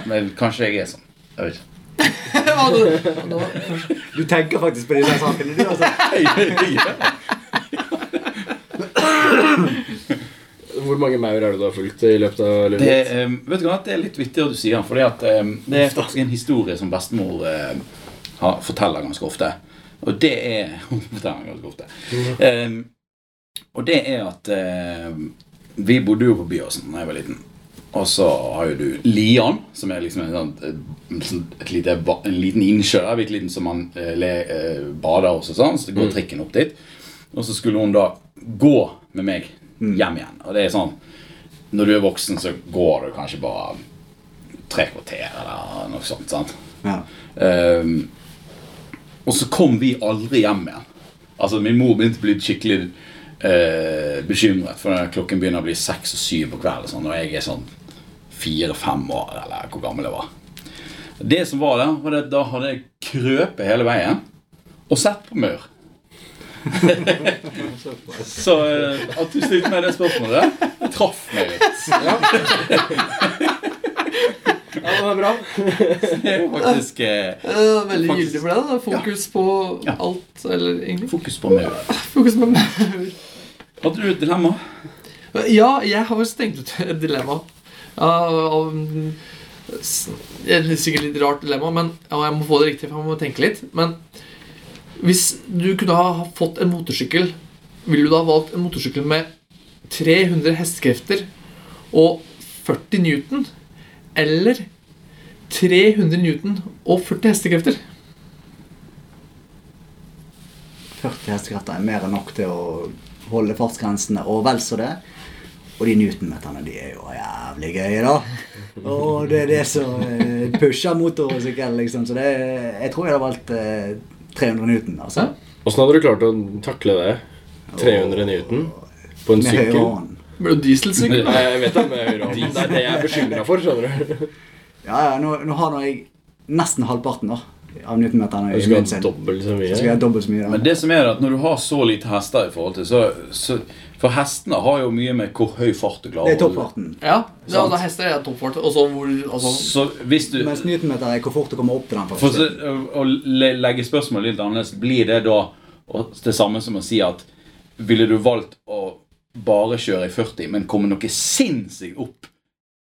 S4: Men kanskje jeg er sånn. Jeg vet ikke.
S3: Ja, det- ja, det var-
S2: Du tenker faktisk på de der sakene, du, altså.
S1: Hvor mange maur er det du har fulgt i løpet av livet?
S4: Det,
S1: ditt?
S4: eh, vet du hva, det er litt vittig at du sier det, fordi at eh, det er faktisk en historie som bestemor eh, har, forteller ganske ofte. Og det er Hun forteller ganske ofte. Eh, og det er at eh, vi bodde jo på Byåsen da jeg var liten. Og så har jo du Lian, som er liksom en, sånn, en, sånn- et lite, va- en liten innsjø der, bitte liten som man eh, le, eh, bader og sånn. Så går trikken opp dit. Og så skulle hun da gå med meg hjem igjen. Og det er sånn når du er voksen, så går du kanskje bare tre kvarter eller noe sånt. sant?
S2: Ja.
S4: Ehm, og så kom vi aldri hjem igjen. Altså, Min mor begynte å bli skikkelig eh, bekymret, for når klokken begynner å bli seks og syv på kvelden, sånn, og jeg er sånn fire-fem år, eller hvor gammel jeg var. Det som var der, var at da hadde jeg krøpet hele veien og sett på maur. så eh, at du stilte meg det spørsmålet, det traff meg litt.
S1: Ja, det var bra.
S4: Det er faktisk eh,
S3: Eh, Veldig
S4: Faktisk.
S3: gyldig for deg. da. Fokus på
S4: Ja.
S3: alt. Eller egentlig
S4: fokus på maur.
S3: fokus på maur.
S4: Hadde du et dilemma?
S3: Ja, jeg har faktisk tenkt ut et dilemma. Ja, og, mm, s- det er sikkert litt rart dilemma, men ja, jeg må få det riktig. for jeg må tenke litt Men hvis du kunne ha fått en motorsykkel, ville du da ha valgt en motorsykkel med 300 hestekrefter og 40 newton? Eller 300 newton og 40 hestekrefter?
S2: 40 hestekrefter er mer enn nok til å holde fartsgrensene, og vel så det. Og de Newton-meterne, de er jo jævlig gøye, da. Og det er det som eh, pusher motorsykkel, liksom. Så det, er- jeg tror jeg hadde valgt eh, 300 Newton, altså.
S1: Åssen hadde du klart å takle det? 300 newton på en
S2: Med høyre
S1: sykkel?
S2: hånd.
S3: Blir det dieselsykkel?
S1: Nei, Jeg vet det med høyre hånd. Det er det jeg er bekymra for, skjønner du.
S2: Ja, ja, nå, nå har nå jeg nesten halvparten da, av Newton-meterne
S1: Du
S2: i
S1: skal
S2: min
S1: ha
S2: sin.
S1: dobbelt så
S2: Så skal jeg
S1: mye.
S2: ha dobbelt så mye.
S4: Men
S2: Da.
S4: det som er at Når du har så lite hester i forhold til så, så, For hestene har jo mye med hvor høy fart du
S2: Det
S4: klarer
S2: er
S4: å holde.
S2: toppfarten.
S3: Ja, det er
S4: Sant.
S3: altså hester er toppfart. Og så hvor altså,
S4: Så hvis du
S2: Mens Newton-meter er hvor fort du kommer opp til den.
S4: for så,
S2: faktisk.
S4: Å le- legge spørsmålet litt annerledes, blir det da å- det samme som å si at Ville du valgt å bare kjøre i 40, men komme noe sinnssykt opp?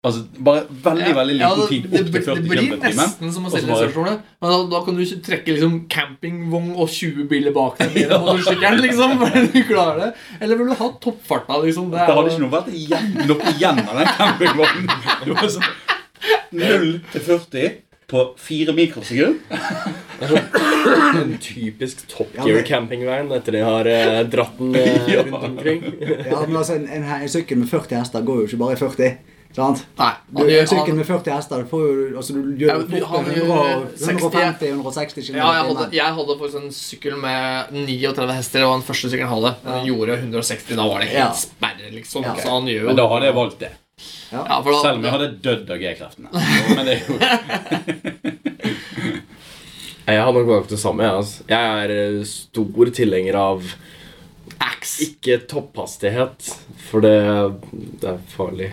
S4: Altså bare veldig, veldig liten
S3: det-
S4: tid
S3: det
S4: opp
S3: blir-
S4: til 40
S3: Det blir
S4: km i timen?
S3: nesten som å
S4: og så
S3: selge
S4: bare-
S3: resepsjoner. Men da, da kan du ikke trekke liksom campingvogn og 20 biler bak deg med motorsykkelen. liksom, for du klarer det. Eller vil du ha toppfarta? liksom? Det er
S4: Det hadde
S3: jo-
S4: ikke noe vært igjen, noe igjen av den campingvognen. Det var sånn 0 til 40 på 4 mikrosekunder.
S1: En typisk Top Gear-campingvogn etter de har eh, dratt den eh,
S4: Ja.
S1: rundt omkring.
S2: Ja, men altså, en, en, en sykkel med 40 hester går jo ikke bare i 40. sant?
S3: Nei,
S2: Du,
S3: han
S2: en
S3: gjør-
S2: sykkel
S3: han-
S2: med 40 hester, du får jo altså, du
S3: Ja,
S2: gjør jo
S3: du- han
S2: fort
S3: gjør
S2: 150-160 km.
S3: ja, jeg hadde, jeg hadde faktisk en sykkel med 39 hester, og den første sykkelen hadde. Den gjorde 160. Da var det helt
S2: Ja.
S3: sperre, liksom.
S2: Ja.
S3: Så han gjør jo
S4: Men da hadde jeg valgt det.
S3: ja, for da,
S4: Selv om jeg hadde dødd av G-kreftene. Men det er jo
S1: Jeg har nok valgt det samme. Jeg, altså. jeg er eh, stor tilhenger av
S3: Axe.
S1: ikke topphastighet, for det, det er farlig.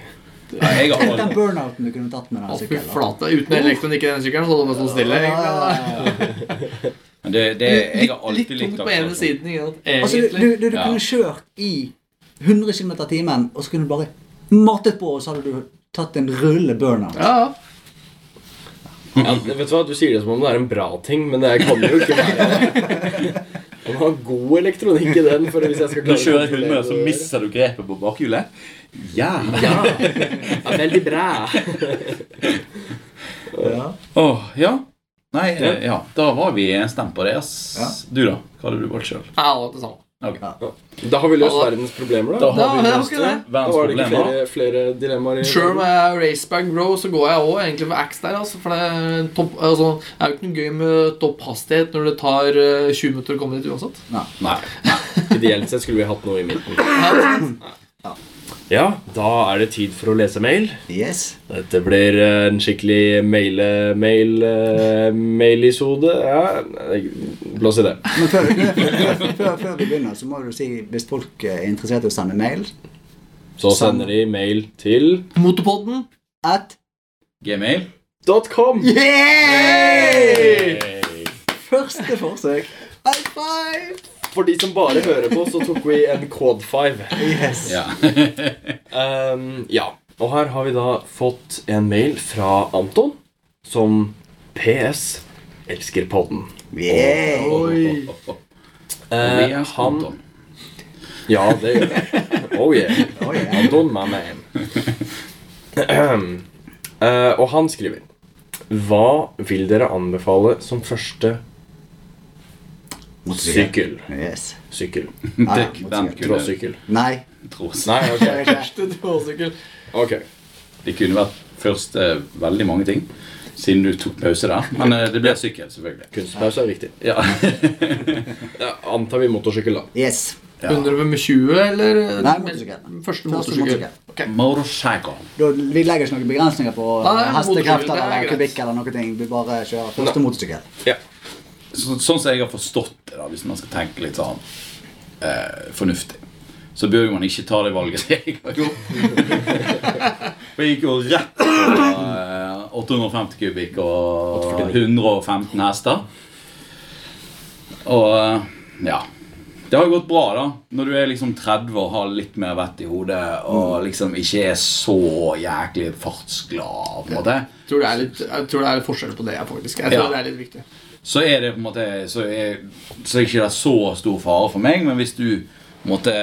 S4: ja, jeg har
S2: Tenk den
S4: valgt.
S2: burnouten du kunne tatt med den
S3: Å, Fy
S2: sykkelen. da.
S3: flate. Uten elektronikk i den sykkelen så hadde det bare stått stille.
S2: Ja,
S3: egentlig.
S2: ja, ja, ja.
S4: Men det, det, jeg har
S3: Litt,
S4: alltid
S3: litt
S4: likt sånn.
S3: tungt på ene
S4: akselerasjon.
S3: siden. Ikke sant?
S2: Altså,
S3: Egentlig.
S2: du, du, du,
S4: Ja.
S2: kunne kjørt i 100 km i timen, og så kunne du bare matet på, og så hadde du tatt en rulle burner.
S3: ja, ja.
S1: Ja, vet du hva, du sier det som om det er en bra ting, men det kan jo ikke være det. Man har god elektronikk i den. For hvis jeg skal
S4: Du
S1: klare å
S4: kjører
S1: kontrollere
S4: 100, så
S1: det.
S4: mister du grepet på bakhjulet. Ja!
S1: Ja. ja veldig bra.
S2: Ja.
S4: Åh, ja. Nei, eh, ja. Da var vi stemt på det. ass. Du, da? Hva hadde du valgt sjøl?
S3: Jeg har valgt det sånn. samme.
S1: Da har vi løst verdens problemer,
S4: Da
S1: da.
S4: har vi
S3: det var
S4: løst
S3: ikke
S4: det.
S3: det.
S1: Da
S4: Verdens
S1: var det ikke
S4: problemer.
S1: flere, flere dilemmaer. i
S3: Sjøl om jeg er racebag bro, så går jeg òg egentlig for axe der. Altså, for det er, topp, altså, det er jo ikke noe gøy med topphastighet når det tar eh, 20 minutter å komme dit uansett.
S4: Nei.
S1: Ideelt sett skulle vi hatt noe i midten. Ja, da er det tid for å lese mail.
S2: Yes.
S1: Dette blir eh, en skikkelig maile... mail... eh, mailisode. Ja, nei, blås i det.
S2: Men før, før, før, før vi begynner, så må du si hvis folk er interessert i å sende mail
S1: Så sender de mail til
S3: Motorpodden.
S2: at
S4: Gmail.
S1: .com.
S2: Yay!
S4: Hey.
S2: Første forsøk. High five!
S1: For de som bare hører på, så tok vi en Quad 5.
S2: Yes.
S4: Ja.
S1: Ehm, ja. Og her har vi da fått en mail fra Anton, som PS elsker podden.
S2: Yeah.
S3: Oi.
S1: Eh,
S4: Vi er
S1: han
S4: Anton.
S1: Ja, det gjør jeg. Oh yeah.
S2: Oh, yeah.
S1: Anton, my man. Eh, og han skriver Hva vil dere anbefale som første sykkel?
S2: Yes.
S1: Sykkel.
S2: Ja, ja,
S4: Dekk, den
S2: motorsykkel.
S4: kunne
S1: Tråsykkel.
S2: Nei.
S4: tros.
S1: Nei, ok.
S3: Tråsykkel.
S1: ok.
S4: Det kunne vært først eh, veldig mange ting, siden du tok pause der. Men eh, det ble sykkel, selvfølgelig.
S1: Kunstpause er viktig.
S4: Ja.
S1: Ja, antar vi motorsykkel, da.
S2: Yes.
S4: ja.
S3: Begynner du med 20, eller?
S2: Nei, motorsykkel.
S3: Første
S2: Første
S3: motorsykkel.
S2: motorsykkel.
S4: Motorcycle.
S2: Da, vi legger ikke noen begrensninger på
S3: Nei, motorsykkel,
S2: hestekrefter
S3: det er
S2: eller
S3: greit.
S2: kubikk eller noen ting. Vi bare kjører første motorsykkel.
S1: Ja.
S4: Så, sånn som jeg har forstått det, da, hvis man skal tenke litt sånn eh, fornuftig, så bør jo man ikke ta det valget som jeg har gjort. For jeg gikk jo rett på eh, 850 kubikk og 115 hester. Og eh, ja. Det har jo gått bra, da. Når du er liksom 30 og har litt mer vett i hodet og liksom ikke er så jæklig fartsglad. på en måte.
S3: Jeg tror, det er litt, jeg tror det er litt forskjell på det, jeg, faktisk. Jeg tror
S4: Ja.
S3: det er litt viktig.
S4: så er det på en måte Så er, så er ikke det så stor fare for meg, men hvis du på en måte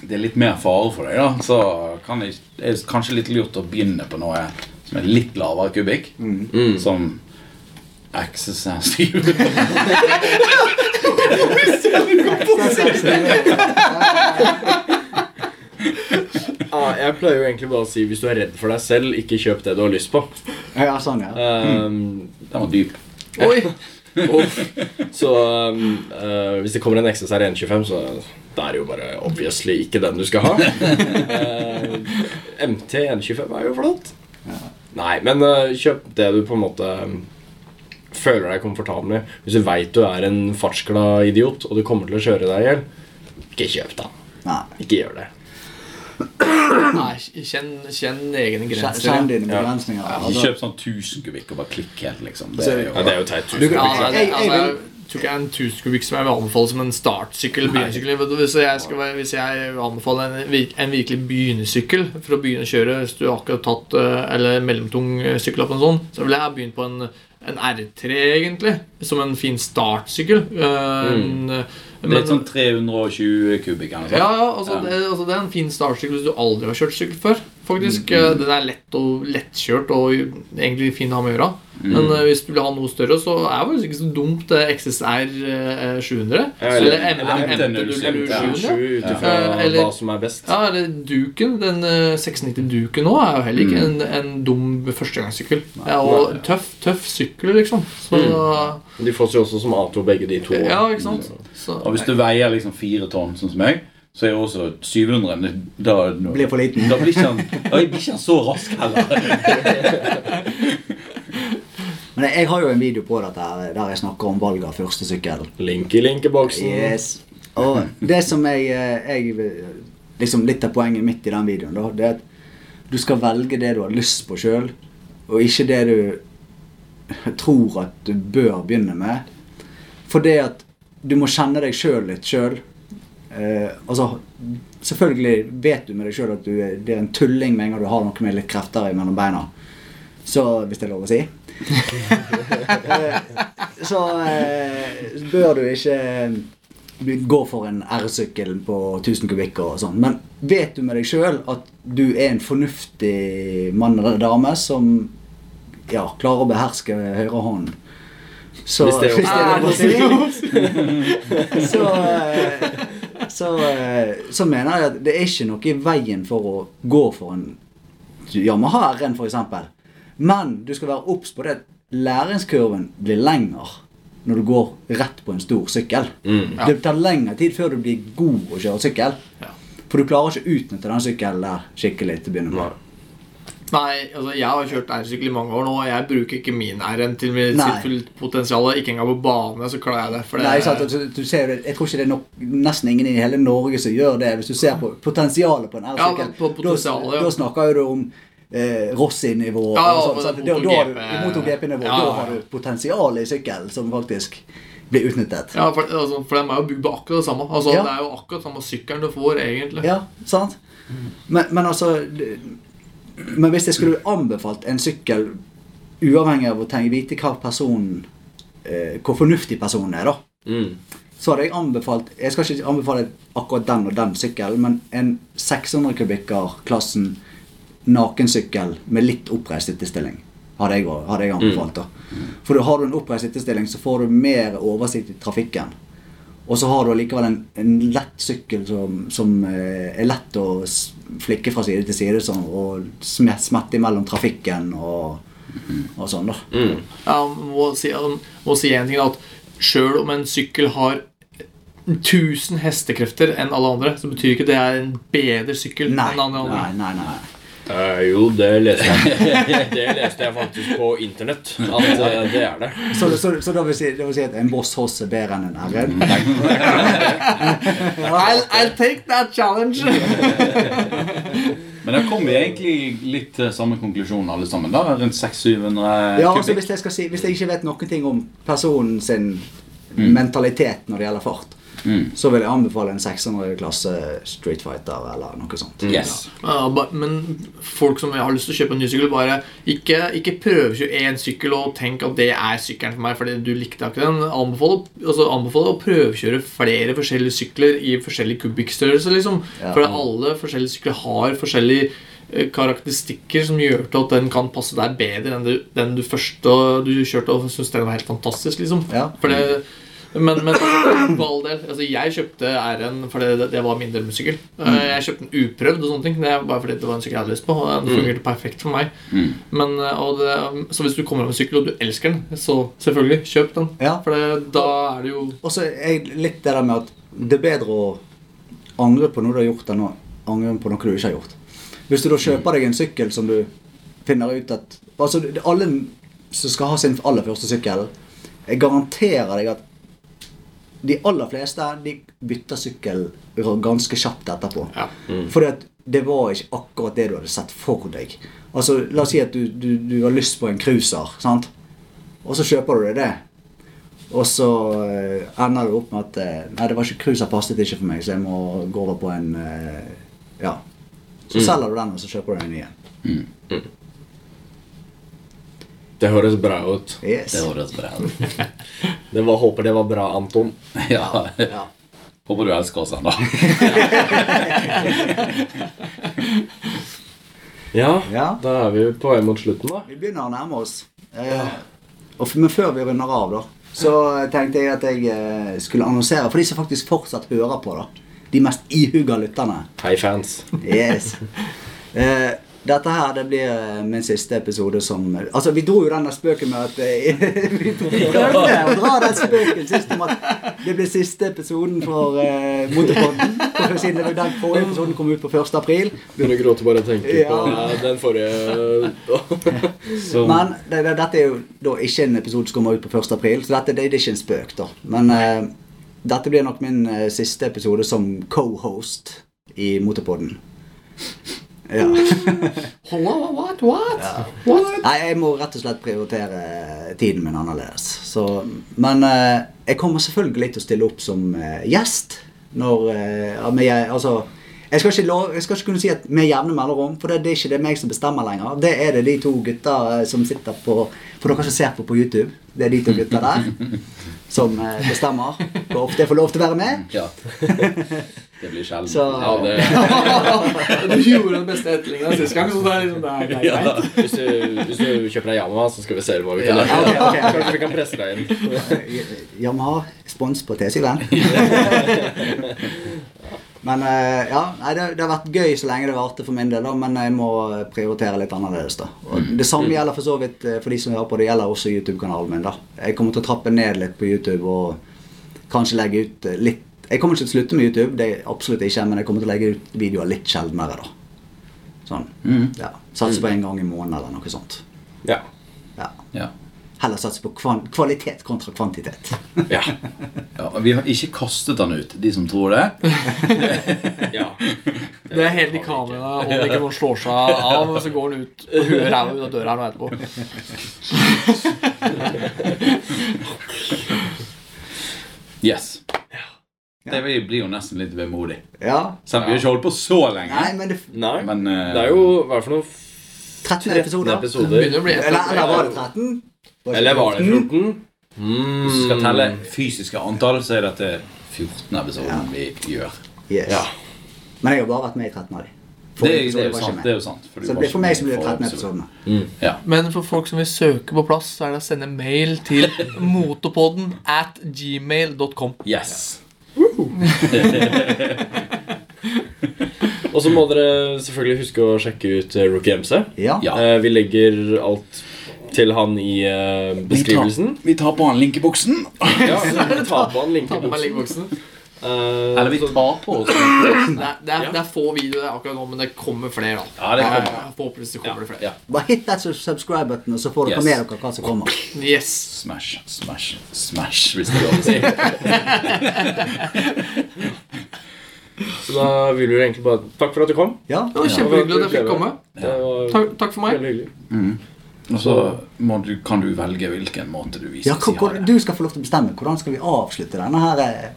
S4: Det er litt mer fare for deg, da, så kan jeg, det er kanskje litt lurt å begynne på noe som er litt lavere kubikk.
S1: Mm.
S4: Som XSS 20.
S1: Ja, jeg pleier jo egentlig bare å si hvis du er redd for deg selv, ikke kjøp det du har lyst på.
S2: Ja, sånn, ja.
S1: Um,
S4: Den var dyp.
S3: Oi!
S1: og, så um, eh, hvis det kommer en XSR 125, så det er det jo bare obviously ikke den du skal ha. Eh, MT 125 er jo flott. Nei, men eh, kjøp det du på en måte um, føler deg komfortabel med. Hvis du veit du er en fartsglad idiot, og du kommer til å kjøre deg i hjel, ikke kjøp den.
S2: Nei.
S1: Ikke gjør det.
S3: Nei, kjenn, kjenn egne
S2: Kjenn
S3: grenser.
S2: kjenn dine
S1: Ja.
S2: begrensninger.
S4: Ikke
S2: Altså,
S4: kjøp sånn 1000 kubikk og bare klikk helt, liksom. Det
S2: Så-
S4: er
S1: Ja,
S4: jo,
S1: det er jo teit.
S2: Du
S1: tusen
S2: kan-
S3: Ja,
S1: takk.
S3: nei, det,
S2: Jeg- jeg
S3: altså, jeg
S2: vil-
S3: tror ikke det er en tusenkubikk som jeg vil anbefale som en startsykkel. begynnersykkel. Vet du, Hvis jeg, skal, være- hvis jeg vil anbefale en, vir- en virkelig begynnersykkel for å begynne å kjøre, hvis du akkurat tatt eh, eller mellomtung eh, sykkel opp en sånn, så ville jeg ha begynt på en, en R3, egentlig. Som en fin startsykkel. Eh, en, eh,
S4: det
S3: men-
S4: er sånn 320 kubikk eller noe
S3: ja,
S4: sånt.
S3: ja, altså,
S4: Ja.
S3: Det, altså det er en fin startsykkel hvis du aldri har kjørt sykkel før.
S4: Mm,
S3: faktisk. Eh, Den er lett og lettkjørt og egentlig fin å ha med å gjøre.
S4: Mm.
S3: Men eh, hvis du vil ha noe større, så er det faktisk ikke så dumt det XSR eh, 700.
S1: Ja,
S3: eller
S1: eller
S4: MT-07,
S3: MT-07.
S1: 27 ut ifra
S3: Eh, eller-
S1: hva som er best.
S3: Ja, eller Duken, den 690-duken nå er jo heller ikke
S4: Mm.
S3: en, en dum førstegangssykkel. Ja, og tøff, tøff sykkel, liksom. Så,
S1: De fås jo også som A2, begge de to.
S3: ja, ikke sant? Så,
S4: Mm. Og hvis du veier liksom fire tonn, sånn som meg, så er jo også 700 da,
S2: blir for liten.
S4: Da blir ikke han, da blir ikke han så rask heller.
S2: Men jeg har jo en video på dette her, der jeg snakker om valg av første sykkel.
S1: Link i linkeboksen.
S2: Yes. Og det som jeg, eh, jeg liksom Litt av poenget mitt i den videoen, da, det er at du skal velge det du har lyst på sjøl, og ikke det du tror at du bør begynne med. For det at du må kjenne deg sjøl litt sjøl. Eh, altså, selvfølgelig vet du med deg sjøl at du er, det er en tulling med en gang du har noe med litt krefter i mellom beina. Så, hvis det er lov å si. Eh, så eh, bør du ikke eh, gå for en R-sykkel på 1000 kubikk og sånn. Men vet du med deg sjøl at du er en fornuftig mann eller dame som ja, klarer å beherske høyrehånden? Så,
S1: Hvis det er
S2: lov å
S3: lov
S2: si så, eh, så, eh, så mener jeg at det er ikke noe i veien for å gå for en Yamaha RN, f.eks. Men du skal være obs på det at læringskurven blir lengre når du går rett på en stor sykkel.
S1: Mm.
S2: Det tar lengre tid før du blir god å kjøre sykkel.
S3: Ja.
S2: For du klarer ikke å utnytte den sykkelen der skikkelig til å begynne
S1: Nei.
S2: med.
S3: Nei, altså jeg har kjørt R-sykkel i mange år nå, og jeg bruker ikke min R-en til mitt
S2: Nei.
S3: sitt fullt potensial. Ikke engang på bane så klarer jeg det. For det
S2: Nei, sant, altså, du ser, jo det- jeg tror ikke det er nok, nesten ingen i hele Norge som gjør det. Hvis du ser på potensialet på en
S3: Ja,
S2: R-sykkel,
S3: på potensialet,
S2: da,
S3: ja.
S2: da snakker jo du om eh, Rossi-nivå.
S3: Ja,
S2: og
S3: ja,
S2: sånt, sant?
S3: på
S2: Da- da har du-
S3: MotoGP.
S2: i MotoGP-nivå.
S3: Ja,
S2: Da
S3: ja.
S2: har du potensial i sykkel som faktisk blir utnyttet.
S3: Ja, for, altså, for de er jo bygd på akkurat det samme. Altså,
S2: Ja.
S3: Det er jo akkurat samme sykkelen du får, egentlig.
S2: Ja, sant? Men, men altså det- Men hvis jeg skulle anbefalt en sykkel uavhengig av å tenke vite hva personen eh, Hvor fornuftig personen er, da.
S1: Mm.
S2: så hadde jeg anbefalt Jeg skal ikke anbefale akkurat den og den sykkelen, men en 600 kubikker klassen nakensykkel med litt oppreist sittestilling. Hadde jeg, hadde jeg anbefalt da. For da har du en oppreist sittestilling, så får du mer oversikt i trafikken. Og så har du allikevel en, en lett sykkel som, som eh, er lett å s- flikke fra side til side sånn, og sm- smette imellom trafikken og, og sånn, da.
S1: Mm.
S3: Ja, må si, jeg må si en ting da, at Selv om en sykkel har 1000 hestekrefter enn alle andre, så betyr ikke det er en bedre sykkel
S2: Nei,
S3: enn alle andre.
S2: nei, nei. nei.
S1: Eh, jo, det leste jeg. Det leste jeg faktisk på internett. At eh, det er det.
S2: Så, så, så da vil si, det vil si at en Boss Hoss er bedre enn en
S3: Mm.
S2: RN?
S3: I'll, I'll take that challenge!
S4: Men da kom vi egentlig litt til samme konklusjon, alle sammen. da, Rundt 600-700
S2: Ja, altså
S4: kubikk.
S2: hvis jeg, skal si, hvis jeg ikke vet noen ting om personen sin
S3: Mm.
S2: mentalitet når det gjelder fart,
S4: Mm.
S2: så vil jeg anbefale en 600-klasse Street Fighter eller noe sånt.
S1: Mm.
S4: Yes.
S3: Ja, ba- men folk som har lyst til å kjøpe en ny sykkel, bare ikke, ikke prøv 21 sykkel og tenk at det er sykkelen for meg, fordi du likte ikke den. Anbefale, altså anbefale å prøvekjøre flere forskjellige sykler i forskjellig kubikkstørrelse, liksom.
S2: Ja.
S3: For alle forskjellige sykler har forskjellige eh, karakteristikker som gjør til at den kan passe deg bedre enn du, den du første du kjørte og syntes den var helt fantastisk, liksom.
S2: Ja.
S3: For det, men, men for all del, altså jeg kjøpte R-en fordi det, det var min drømmesykkel. Eh, Jeg kjøpte den uprøvd, og sånne ting Det er bare fordi det var en sykkel jeg hadde lyst på. Og den fungerte perfekt for meg
S4: mm.
S3: men, eh, og det, Så hvis du kommer over en sykkel og du elsker den, så selvfølgelig, kjøp den.
S2: Ja.
S3: For det, da er det jo
S2: Og så er jeg litt det der med at det er bedre å angre på noe du har gjort, enn å angre på noe du ikke har gjort. Hvis du da kjøper deg en sykkel som du finner ut at Altså, det- alle som skal ha sin aller første sykkel, jeg garanterer deg at de aller fleste de bytter sykkel ganske kjapt etterpå.
S3: Ja.
S2: Fordi at det var ikke akkurat det du hadde sett for deg. Altså, La oss si at du, du, du har lyst på en cruiser, sant? og så kjøper du deg det. Og så eh, ender det opp med at eh, Nei, det var ikke cruiser passet ikke for meg, så jeg må gå over på en eh, Ja. Så selger du den, og så kjøper du en ny en.
S1: Det høres bra ut.
S2: Yes.
S4: Det høres bra ut.
S1: Det var, håper det var bra, Anton.
S4: Ja.
S2: Ja.
S4: Håper du elsker oss ennå.
S1: Ja,
S2: Ja.
S1: da er vi på vei mot slutten, da.
S2: Vi begynner å nærme oss. Eh, og f- men før vi runder av, da, så tenkte jeg at jeg eh, skulle annonsere for de som faktisk fortsatt hører på, da. De mest ihuga lytterne.
S1: Hei, fans.
S2: Yes. Eh, dette her det blir eh, min siste episode som Altså, vi dro jo den der spøken med at eh, Vi prøvde å dra den spøken sist om at det blir siste episoden for eh, Motorpodden. for Siden det var den forrige episoden kom ut på 1. april.
S1: Begynner å gråte bare av å tenke på
S2: Ja.
S1: eh, den forrige
S4: Så
S2: Men det, det, dette er jo da ikke en episode som kommer ut på 1. april, så dette det, det er ikke en spøk, da. Men eh, dette blir nok min eh, siste episode som co-host i Motorpodden. Ja.
S3: Hello, what, what? what?
S2: Nei, jeg må rett og slett prioritere tiden min annerledes. Så, men eh, jeg kommer selvfølgelig til å stille opp som eh, gjest. Når, eh, ja, men jeg, altså, jeg, skal ikke lov, jeg skal ikke kunne si at med jevne mellomrom, for det, det er ikke det meg som bestemmer lenger. Det er det de to gutta eh, som sitter på For dere som ser på på YouTube, det er de to gutta der som eh, bestemmer hvor ofte jeg får lov til å være med.
S4: Ja. Det blir sjelden.
S2: Så-
S4: Ja, det,
S3: du gjorde den beste etterligningen sist gang, så det er liksom det er, det er greit.
S1: Hvis du, hvis du kjøper deg Yama, så skal vi se hva vi kan
S4: Ja.
S1: gjøre.
S2: Ja, ok, ok.
S1: Kanskje vi kan presse deg inn.
S2: Yamaha, Eh, spons på T-syklen. Men eh, ja, nei, det, det har vært gøy så lenge det varte for min del, da, men jeg må eh, prioritere litt annerledes. da. Og det samme gjelder for så vidt eh, for de som hører på, det gjelder også YouTube-kanalen min. da. Jeg kommer til å trappe ned litt på YouTube og kanskje legge ut eh, litt Jeg kommer ikke til å slutte med YouTube, det er absolutt ikke, men jeg kommer til å legge ut videoer litt sjeldnere. da. Sånn.
S4: Mhm.
S2: Ja. Satse på en gang i måneden eller noe sånt.
S1: Ja.
S2: Ja.
S4: ja.
S2: Heller satse på kvan kvalitet kontra kvantitet.
S1: Ja.
S4: Ja, og vi har ikke kastet den ut, de som tror det.
S1: ja.
S3: Det er helt i kamera, om det ikke noen slår seg av, så går den ut og huet ræva ut av døra her nå etterpå.
S4: Yes. Det blir jo nesten litt vemodig.
S2: Ja,
S4: Selv om vi har ikke holdt på så lenge.
S2: Nei, men det
S1: Nei.
S4: Men eh,
S1: Det er jo hva er det for noen
S2: 13
S1: 13
S2: episoder.
S3: Det
S1: episoder.
S3: begynner å bli
S2: Eller,
S3: etter.
S2: eller var det 13?
S1: Eller var det 14?
S4: hvis
S1: Mm.
S4: du skal telle fysiske antall, så er dette 14 episoden vi gjør.
S2: Yes.
S1: Ja.
S2: Men jeg har bare vært med i 13 av dem.
S4: Det, er- det er jo sant. det er jo sant for du
S2: Så det
S4: var
S2: blir for meg
S4: ikke
S2: som blir
S4: med
S2: det
S4: i
S2: 13
S4: forrige episode.
S2: episodene.
S4: Ja.
S3: Men for folk som vil søke på plass, så er det å sende mail til motorpodden at gmail.com.
S4: Yes.
S1: Og så må dere selvfølgelig huske å sjekke ut eh, Rookie MC.
S2: Ja.
S4: Ja.
S1: Eh, Vi legger alt til han i eh, beskrivelsen.
S4: Vi tar på han linkebuksen.
S1: Ja, ta på han
S3: Ta på meg
S1: linkebuksen.
S3: linkboksen.
S1: Eh,
S4: Eller vi
S1: så-
S4: tar på oss
S3: Det er, det, er, det er få videoer akkurat nå, men det kommer flere. da
S4: Ja, det kommer.
S3: Jeg håper det kommer det flere.
S4: Ja.
S2: Bare hit that subscribe-button, og så får dere
S4: Yes.
S2: med dere hva som kommer.
S3: Yes.
S4: Smash, smash, smash, hvis det er lov å si.
S1: Så da vil vi egentlig bare Takk for at du kom.
S2: Ja.
S3: Det var kjempehyggelig at jeg fikk komme.
S1: Det var
S3: Takk, takk for meg.
S1: veldig hyggelig.
S4: Og så må du, kan du velge hvilken måte du viser
S2: Ja, hva,
S4: siden
S2: hva, du skal få lov til å bestemme. Hvordan skal vi avslutte denne her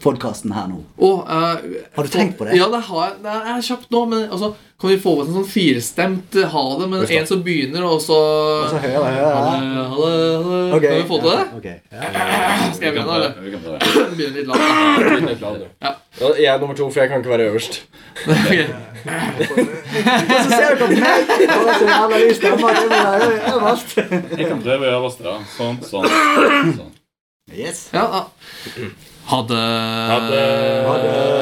S2: podkasten her nå?
S3: Og, eh,
S2: Har du tenkt på det?
S3: Ja, det har jeg. Det er kjapt nå, men altså, kan vi få oss en sånn firstemt eh, ha det, men en som begynner, og så
S2: Og så hører jeg
S3: Ha
S2: hører jeg.
S3: det, ha det, ha det.
S2: Ok.
S3: Kan vi få til det?
S2: Ok.
S3: Skal jeg
S4: Vi kan
S3: begynne,
S4: prøve-
S3: eller?
S4: vi kan prøve.
S3: Begynne litt lavt. da.
S1: Ja. Ja, Jeg er nummer to, for jeg kan ikke være øverst.
S3: Ok.
S2: Og så ser dere meg! Og så jævla lys stemme. Det blir øverst.
S4: Jeg kan prøve øverste, da. Sånn, sånn. sånn.
S2: Yes.
S3: Ja, da. Ha det.
S1: Ha det.
S2: Ha det.